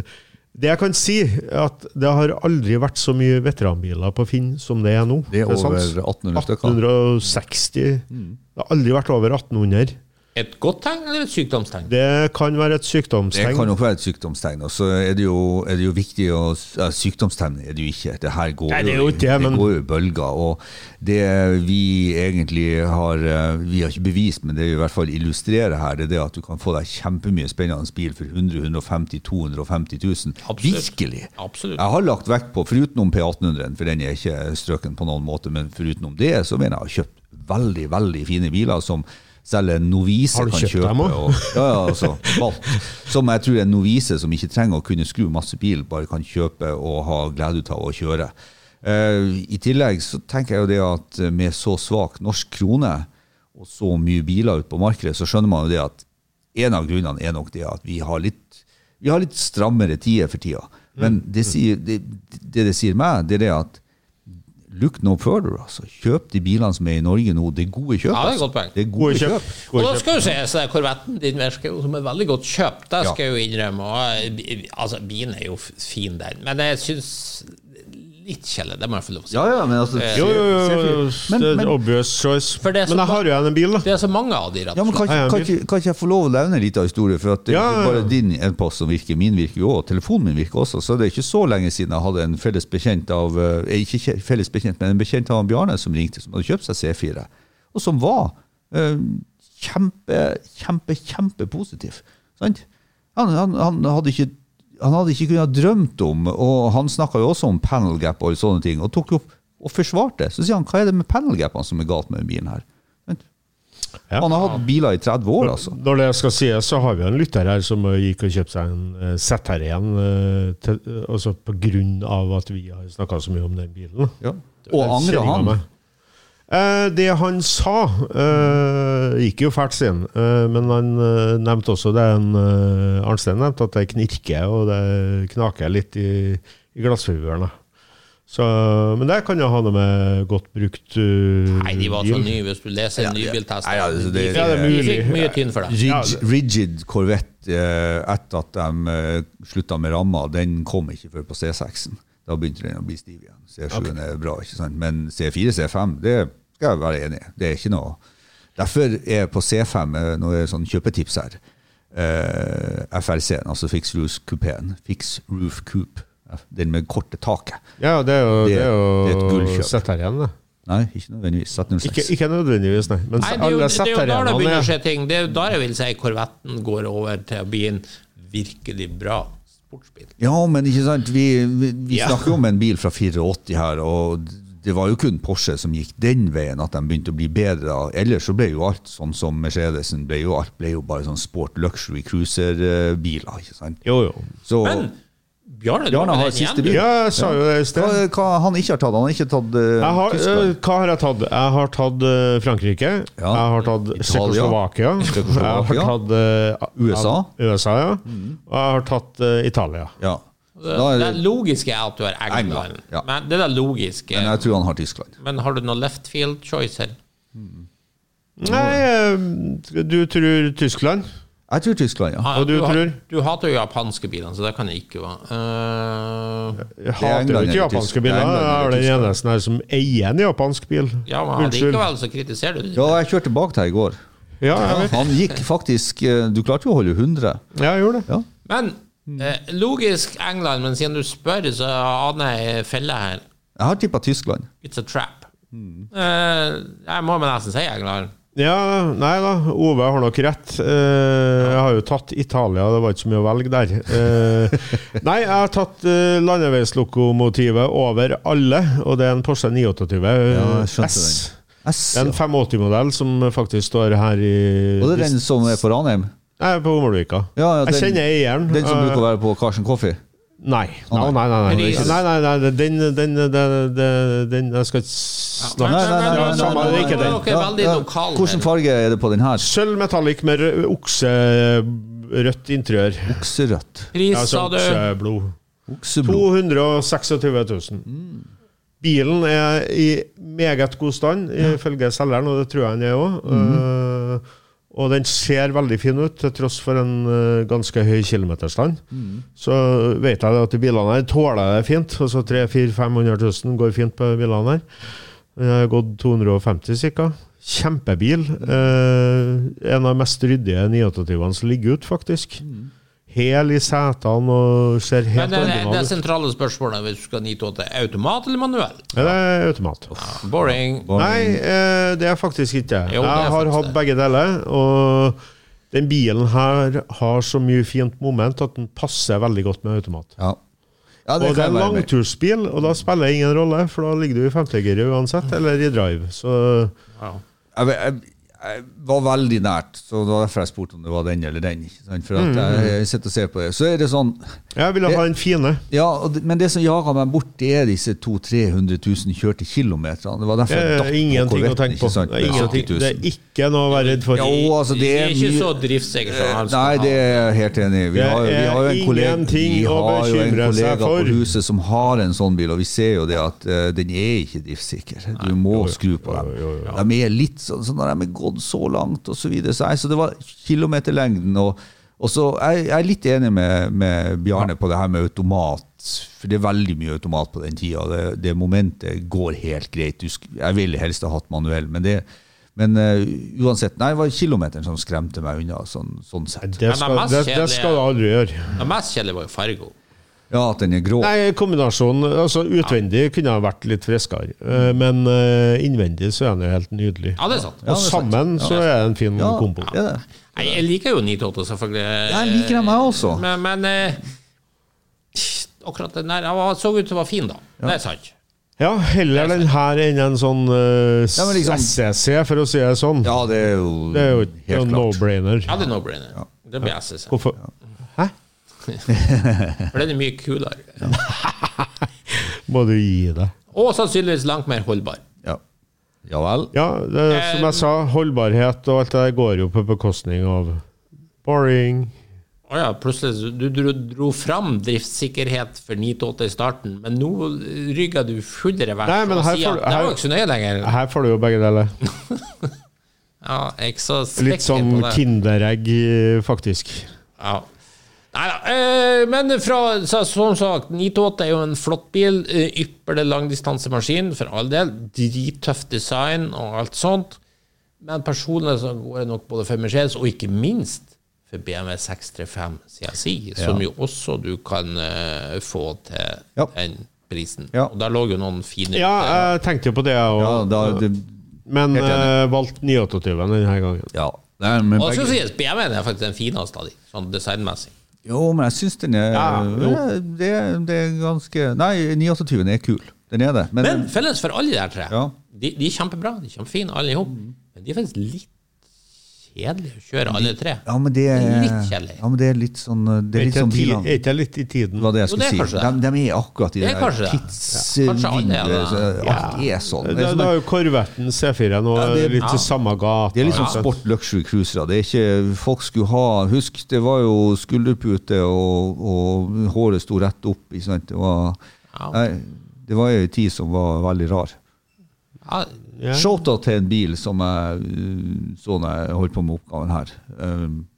det jeg kan si, er at det har aldri vært så mye veteranbiler på Finn som det er nå.
Det er
sant?
over 1800 stykker.
1860. Det har aldri vært over 1800.
Et godt tegn eller et sykdomstegn?
Det kan være et
Det
sykdomstegn.
kan nok være et sykdomstegn. Og så er det jo, er det jo viktig å ja, Sykdomstegn er det jo ikke. Det her går,
Nei, det er jo ikke det, men-
går jo i bølger. Og det vi egentlig har eh, Vi har ikke bevist, men det vi i hvert fall illustrerer her, det er det at du kan få deg kjempemye spennende bil for 100 150 250 000.
Absolutt.
Virkelig!
Absolutt.
Jeg har lagt vekt på, foruten om P1800-en, for den er ikke strøken på noen måte, men foruten om det, så mener jeg jeg har kjøpt veldig, veldig fine biler som selv en novise
Har du
kan
kjøpt
kjøpe.
dem også?
og, ja, ja, altså, valgt. Som jeg tror en novise som ikke trenger å kunne skru masse bil, bare kan kjøpe og ha glede ut av å kjøre. Eh, I tillegg så tenker jeg jo det at med så svak norsk krone og så mye biler ute på markedet, så skjønner man jo det at en av grunnene er nok det at vi har litt, vi har litt strammere tider for tida. Men det, sier, det, det det sier meg, det er det at look no further, altså. Kjøp de bilene som er i Norge nå. Det er gode kjøp.
Ja, det er et
altså.
godt poeng.
Det er
Gode
gode
kjøp.
kjøp.
Og
Gode
da
kjøp.
skal jo sies at korvetten din virker jo som et veldig godt kjøp, det
Ja.
skal jeg jo innrømme. Og, eh, altså, bilen er jo f- fin, den, men jeg syns litt kjedelig, det må jeg få lov til å si.
Ja, ja, men altså
Jo, jo, jo, jo.
Men-
det er
men-
en obvious choice.
For det er så
Men jeg
ba-
har jo igjen en bil, da.
Det er så mange av de, rett
Ja,
og
men kan,
slett.
ikke- kan, ikke- kan ikke jeg få lov å nevne litt av historien? For at det er
Ja, ja,
ikke
ja.
bare din e-post som virker, min virker jo òg. Telefonen min virker også. Så det er ikke så lenge siden jeg hadde en felles bekjent av eh, Ikke kje- felles bekjent, men en bekjent av han Bjarne som ringte, som hadde kjøpt seg C4. Og som var eh, kjempe, kjempe, kjempepositiv. Sant? Han, han, han hadde ikke han hadde ikke kunnet drømt om, og han snakka jo også om panel gap og sånne ting, og tok jo opp og forsvarte. Så sier han hva er det med panel gapene som er galt med den bilen her? Sant?
Ja.
Han har hatt biler i 30 år, altså.
Når det skal sies, så har vi en lytter her som eh, gikk og kjøpte seg en eh, ZR igjen, eh, til, eh, altså på grunn av at vi har snakka så mye om den bilen.
Ja. Og angrer
Kjenninga
han.
meg. Eh, det han sa, eh, gikk jo fælt sin, eh, men han eh, nevnte også det en, eh, Arnstein nevnte, at det knirker og det knaker litt i, i glassfiberne. Så, men det kan jo ha noe med godt brukt eh,
Nei, de var så
bil.
nye, hvis du leser en nybiltest.
Nei, ja,
de
altså, det-
fikk-
Ja,
det er
de fikk
mulig.
mye tynn for det.
Rigid, rigid Corvette eh, etter at de eh, slutta med ramma, den kom ikke før på C6-en. Da begynte den å bli stiv igjen. C7-en er bra, ikke sant? Men C4, C5, det skal jeg være enig i. Det er ikke noe Derfor er på C5 eh, nå er det sånn kjøpetips her. Eh, FRC-en, altså Fix Roof Coupeen. Fix Roof Coupe. Den med korte taket.
Ja, det er jo,
Det-
det er
det er et
jo
gullkjøp.
ZR igjen, det.
Nei, ikke nødvendigvis.
Ikke,
706.
ikke nødvendigvis, nei. Men
Nei, det er jo,
alle
det er jo da det
setter
begynner å
igjen.
skje ting. Det er jo da jeg vil si korvetten går over til å bli en virkelig bra sportsbil.
Ja, men ikke sant, vi, vi, vi snakker jo om en bil fra 84 her, og det var jo kun Porsche som gikk den veien at de begynte å bli bedre. da. Ellers så ble jo alt sånn som Mercedesen ble jo alt, ble jo bare sånn sport luxury cruiser-biler, ikke sant.
Jo, jo.
Så
Men Bjarne, du
Bjarne
har
har
den
siste
igjen.
bil.
Ja, jeg sa jo det i
hva,
sted.
hva han ikke har tatt? Han har ikke tatt eh,
Jeg har, øh,
Tyskland.
hva har jeg tatt? Jeg har tatt øh, Frankrike.
Ja.
Jeg har tatt Tsjekkoslovakia.
Tsjekkoslovakia.
Jeg har tatt øh,
USA. Mm.
USA ja. Og jeg har tatt øh, Italia.
Ja.
Det,
Da er
det logiske er at du har England.
England, ja.
Men det er det logiske.
Men
Men,
jeg tror han har Tyskland.
har du noen left field choice her?
Nei, øh, du tror Tyskland?
Jeg tror Tyskland, ja.
Ah,
Og du
ha-
tror?
Du hater jo japanske biler, så det kan jeg ikke være. Eh,
Jeg hater
England
jo
eller
ikke
Tysk-
japanske
det er
biler.
England
Jeg er
eller
den eneste her som eier en japansk bil.
ja, men
Unnskyld.
likevel så kritiserer du det.
Ja, jeg kjørte bak deg i går.
Ja, jeg, vet.
Han gikk faktisk eh, Du klarte jo å holde 100.
Ja, jeg gjorde det.
Ja.
Men eh, logisk England, men siden du spør, så aner jeg felle her.
Jeg har tippa Tyskland.
It's a trap.
Mm.
Eh, jeg må vel nesten si England.
Ja, nei da. Ove har nok rett. Eh, jeg har jo tatt Italia, det var ikke så mye å velge der. Eh, nei, jeg har tatt eh, landeveislokomotivet over alle, og det er en Porsche 928
jeg skjønte
S.
S,
Det er en 580-modell som faktisk står her i
Og det er den som er på Ranheim?
Nei, på Ommelvika.
Ja, ja,
jeg
den-
kjenner eieren.
Den som
Eh,
bruker å være på Carson Coffee?
Nei. Nei, nei, nei. nei,
Ris.
nei, nei, nei, den, den, den, den, den Jeg skal ikke
Nei,
snakke
nei, nei,
nei, samme, det er ikke den.
Dere er veldig lokale her.
Hvilken farge er det på den her?
Sølv metallic med rød- okserødt interiør.
Okserødt.
Pris,
Ja,
sa
altså,
du?
eh,
okseblod.
Okseblod.
226 000. Bilen er i meget god stand, ifølge selgeren, og det tror jeg den er òg. og den ser veldig fin ut, til tross for en eh, ganske høy kilometerstand. Så vet jeg det at de bilene her tåler det fint. Altså 300 000-500 000 går fint på bilene her. Den har gått 250 000 cirka. Kjempebil. Eh, en av de mest ryddige 928-ene som ligger ute, faktisk. Hel i setene og ser helt
Men det, det, det
original ut.
sentrale spørsmålet hvis du skal 928, automat eller manuell?
Ja, Det er automat.
Boring.
Nei, eh, det er faktisk ikke det.
Jo, det er
Jeg har
faktisk
hatt
det.
begge deler, og den bilen her har så mye fint moment at den passer veldig godt med automat.
Ja. ja,
Og
det
det er
kan jeg være med.
langtursbil, og da spiller det ingen rolle, for da ligger du i femtegiret uansett, eller i drive. Så
Ja.
Jeg, jeg, jeg var veldig nært, så det var derfor jeg spurte om det var den eller den. Ikke sant? For
Mm,
at jeg sitter og ser på det. Så er det sånn
jeg ville ha den fine.
Ja, og det- men det som jager meg bort, det er disse 200 000-300 000 kjørte kilometerne. Det var derfor
Det
jeg datt
er
på
Eh, ingenting å
Corvetten,
tenke på.
ikke sant?
Det er, ingenting. Det
70 000.
er ikke noe å være redd for.
Jo, altså, det er
ikke så
mye Eh,
driftssikker som han
Nei, det er jeg helt enig i. Vi
Det
har, vi
er
har jo en kollega,
ingenting
vi
å
har jo en
bekymre seg
kollega
for.
på huset som har en sånn bil, og vi ser jo det at eh, den er ikke driftssikker. Du må skru på dem. De er litt sånn sånn når de er gått så langt og så videre. Så, nei, så det var kilometerlengden. Og, og så jeg, jeg er litt enig med, med Bjarne på det her med automat. For det er veldig mye automat på den tida. Det, det momentet går helt greit. Du, sk- jeg ville helst ha hatt manuell, men det men eh, uansett, nei, det var kilometeren som skremte meg unna, sånn, sånn sett.
Det skal,
mest
det, det
kjedelige-
skal du aldri gjøre.
Det mest kjedelige var jo Fargo.
Ja, at den er grå.
Nei, kombinasjonen altså Utvendig kunne ha vært litt friskere, eh, men eh, innvendig så er den jo helt nydelig.
Ja, det er sant.
Og sammen så er det en fin
Ja,
kombo.
det er det.
Nei, jeg liker jo 928, selvfølgelig.
Jeg liker dem, jeg også.
Men, men eh, akkurat den der Han så ut til å være fin, da. Det er sant.
Ja, heller den her enn en sånn eh,
Ja, men liksom-
SCC, for å si det sånn.
Ja, det er jo,
Det er jo en
helt klart.
no-brainer.
Ja, det er no-brainer. Det blir SSC.
Hvorfor? Hæ?
For den er mye kulere.
Må du gi deg?
Og sannsynligvis langt mer holdbar.
Ja. ja vel.
Ja, det, er som jeg sa, holdbarhet og alt det der går jo på bekostning av boring.
Å ja, plutselig så- du dro, dro fram driftssikkerhet for 928 i starten, men nå rygger du full revers
Nei, men
og
her
sier
får
at
du-
det var
her-
jo ikke så nøye lenger.
Her får du jo begge deler.
Ja, jeg er ikke så
Litt
sikker
sånn
på det.
Kinderegg, eh, faktisk.
Ja. Neida, eh, men fra, så, som sagt, 928 er jo en flott bil. eh, Ypperlig langdistansemaskin, for all del. Drittøff design og alt sånt. Men personlig så går det nok både for Mercedes og ikke minst for BMW 635 CSI, som jo også du kan eh, få til
Ja.
den prisen.
Ja.
Og der lå jo noen fine utgaver.
Ja, eh, jeg tenkte jo på det, jeg
Ja,
òg.
da, det,
Men
Helt enig.
eh, valgte 928 denne gangen.
ja. Nei, men
Og det skal
begge,
sies, BMW er faktisk den fineste av de, sånn designmessig.
jo, men jeg syns den er
Ja, jo.
det, det er ganske Nei, 29 er kul. Den er det. Men,
Men felles for alle de der tre.
Ja. Mm.
De, de er kjempebra, de er kjempefine alle i hop. Men de er faktisk litt kjedelige å kjøre, alle tre.
ja, men det er
Litt kjedelig.
Ja, men det er litt sånn Det er
Er
litt
ikke
sånn
ti-
bilene
er ikke jeg litt i tiden?
Det var det jeg
Jo, det
skulle
er
si.
kanskje
De,
det.
de er akkurat i
Det
det
er kanskje
der
det. Kanskje alle er
tidsvinduet.
det.
så Alt er sånn.
Da,
Det er,
da
sånn
er jo Corvetten C4 nå
det er-
litt i samme gata.
det er litt sånn
ikke sant?
sport luxury cruisere. Det er ikke, folk skulle ha Husk, det var jo skulderpute, og, og håret sto rett opp. Ikke sant? Det var,
Ja.
nei, det var jo en tid som var veldig rar.
Ja,
Ja.
Shoutout til en bil som jeg uh, så når jeg holdt på med oppgaven her. Um,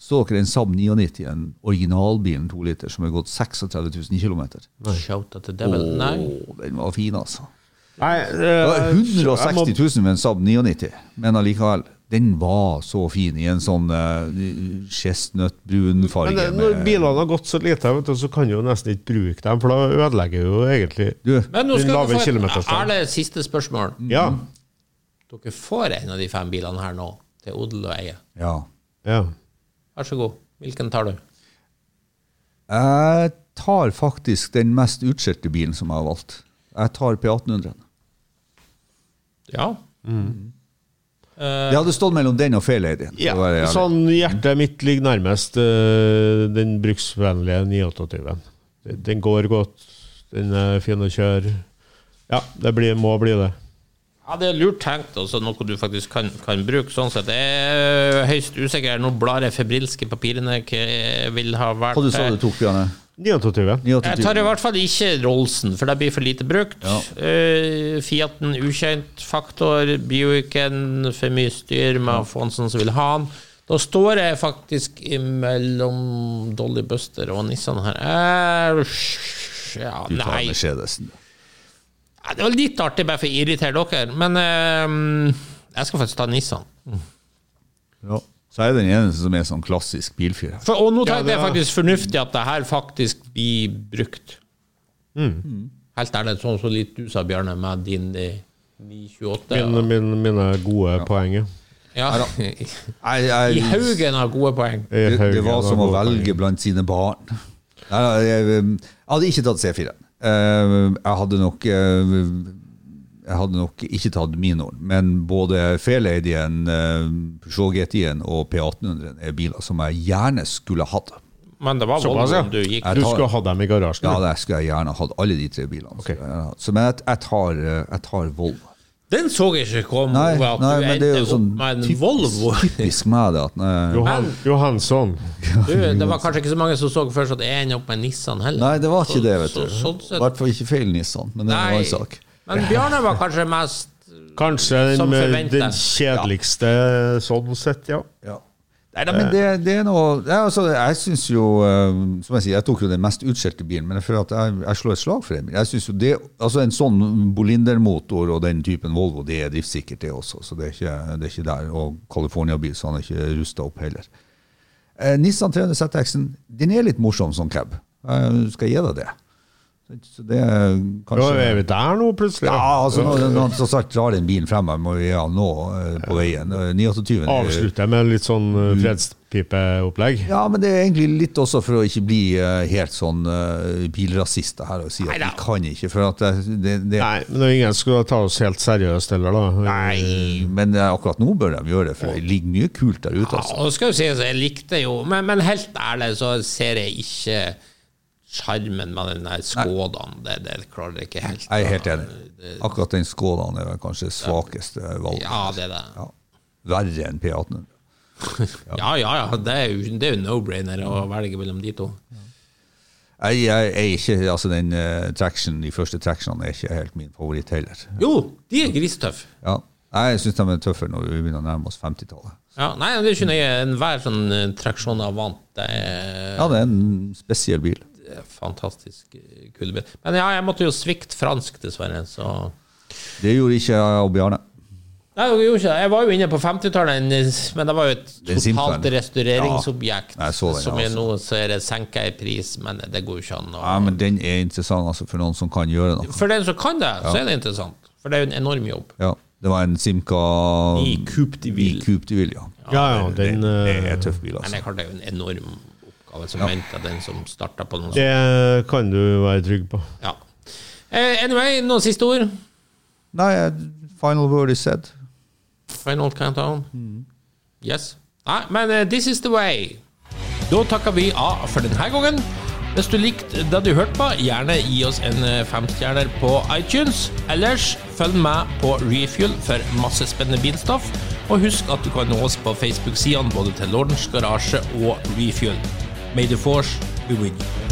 så dere en Saab 99, en originalbilen 2 liter, som har gått 36 000 km?
Shouta til Devil. Nei.
Den var fin, altså.
Nei,
Det
eh,
var 160
jeg
000 med en Saab 99, men allikevel. Den var så fin i en sånn uh, chestnut-brun
eh,
må- Men
farge.
det, når
med-
bilene har gått så lite, vet du, så kan du jo nesten ikke bruke dem, for da ødelegger jo egentlig
du,
Men nå
Den
skal
lave
dere få et
kilometerstand.
ærlig siste spørsmål.
Ja.
Dere får en av de fem bilene her nå, til odel og eie.
ja.
ja.
Vær så god. Hvilken tar du?
Jeg tar faktisk den mest utskjelte bilen som jeg har valgt. Jeg tar P1800.
Ja. Eh.
Det hadde stått mellom den og Fairladyen.
ja.
for å være ærlig.
Sånn hjertet mitt ligger nærmest eh, den bruksvennlige 928-en. Den- Den går godt, den er fin å kjøre. Ja, det blir, må bli det.
Ja, Det er lurt tenkt, altså noe du faktisk kan, kan bruke. sånn sett. Jeg er høyst usikker. Nå blar jeg febrilsk i papirene. Hva jeg vil ha vært
Hva du sa du tok, Bjarne?
928.
Jeg tar i hvert fall ikke Rollsen, for det blir for lite brukt. Eh, Fiaten ukjent faktor, Buicken for mye styr med Afonsen som vil ha den. Da står jeg faktisk mellom Dolly Buster og Nissan her. Eh, ja,
Du tar
nei.
Mercedesen.
Ja, Det var litt artig, bare for å irritere dere. Men eh, Jeg skal faktisk ta Nissan.
Ja. Så er jeg den eneste som er sånn klassisk bilfyr. her.
For, og nå
Ja,
tenker jeg
det er-
faktisk fornuftig at det her faktisk blir brukt.
Mm.
Helt ærlig, sånn som litt du sa, Bjarne, med din eh, 928.
Mine, mine, mine gode poeng. ja.
eh,
Ja.
Jeg, jeg,
I Haugen har gode poeng.
Jeg
det, det
Haugen
var
har
som å
gode poeng.
velge blant sine barn. Nei, nei, Jeg, um, jeg hadde ikke tatt C4. Eh, Jeg hadde nok eh, Jeg hadde nok ikke tatt minoren, men både Fairladyen, eh, Peugeot GTI-en og P1800 er biler som jeg gjerne skulle hatt.
Men det var
Såpass, ja.
Volvoen du gikk
altså, Du skulle ha dem i garasjen.
Ja,
du.
det skulle jeg gjerne hatt, alle de tre bilene.
Ok.
skulle jeg gjerne hatt. Så, men jeg, jeg, tar, eh, jeg tar Volvo.
Den så jeg ikke komme.
Nei,
Ove, at
nei
du
men det er jo
endte
sånn
opp med en Volvo.
typisk, typisk meg, det. At, nei,
Johan, Johansson.
Du, det var kanskje ikke så mange som så først at jeg ender opp med en Nissan heller.
nei, det var
Så-
ikke det, vet du.
så- sånn
I
sett-
hvert fall ikke feil Nissan, men det var en annen sak.
Men Bjarne var kanskje mest
Kanskje
Som
den,
forventet.
den kjedeligste sånn sett, ja.
Ja. Nei, da,
Eh.
men det, det er noe Nei, altså, Jeg syns jo eh, Som jeg sier, jeg tok jo den mest utskjelte bilen, men jeg føler at jeg, jeg slår et slag for den. Jeg synes jo det, altså En sånn Bolinder-motor og den typen Volvo, det er driftssikkert, det også. Så det er ikke, det er ikke der. Og California-bil, så han er ikke rusta opp heller. Eh, Nissan 300 ZX-en, den er litt morsom som cab. Jeg skal gi deg det. Så det er
Ja,
kanskje
er vi der nå, plutselig?
ja, altså når når han som sagt drar den bilen frem, jeg må vi ha nå eh, på veien. Eh, 29.
Avslutter jeg med litt sånn eh, fredspipeopplegg.
Mm. Ja, men det er egentlig litt også for å ikke bli eh, helt sånn eh, bilrasist det her og si at vi kan ikke, for at det, det, det
Nei, men det er ingen som skulle ta oss helt seriøst heller, da.
Nei, Men eh, akkurat nå bør de gjøre det, for det ligger mye kult der ute.
Ja,
altså.
og skal jo sies, jeg likte jo men, men helt ærlig så ser jeg ikke sjarmen med den der Skådan. Det, det klarer jeg ikke helt.
Jeg er helt enig. Akkurat den skålen er vel kanskje svakeste valget.
Ja, det er det.
Ja. Verre enn P1800.
Ja, ja, ja. Det er jo, det er jo no-brainer å velge mellom de to.
Jeg, jeg er ikke, altså den eh, traction, De første tractionene er ikke helt min favoritt heller.
Jo, de er grisetøffe.
Ja. Jeg syns de er tøffere når vi begynner å nærme oss 50-tallet.
Ja, nei, det er ikke nøye. Enhver sånn eh, traksjon avant, det er
Ja, det er en spesiell bil.
fantastisk eh, kul bil. Men ja, jeg måtte jo svikte fransk, dessverre, så
Det gjorde ikke jeg og Bjarne.
Nei, jeg gjorde ikke det. Jeg var jo inne på 50-tallet, men det var jo et
Den
totalt
Simpleren.
restaureringsobjekt.
Ja, jeg så den,
som
ja,
er
altså.
nå så er det senka i pris, men det går jo ikke an. å-
Ja, men den er interessant altså, for noen som kan gjøre noe.
For den som kan det, så er det interessant. For det er jo en enorm jobb.
Ja, det var en Simca
I Coupe de Ville.
I Coupe de Ville, ja.
Ja, ja, den,
det
eh,
er en tøff bil,
Men
altså.
det er klart det er jo en enorm oppgave som venter den som starter på noe sånt.
det kan du være trygg på.
Ja. Eh, anyway, noen siste ord?
Nei, final word is said.
Final countdown? Yes. Nei, men eh, this is the way. Da takker vi av for denne gangen. Hvis du likte det du hørte på, gjerne gi oss en eh, femstjerner på iTunes. Ellers følg med på Refuel for masse spennende bilstoff. Og husk at du kan nå oss på Facebook-sidene både til Lordens Garasje og Refuel. May the force be with you.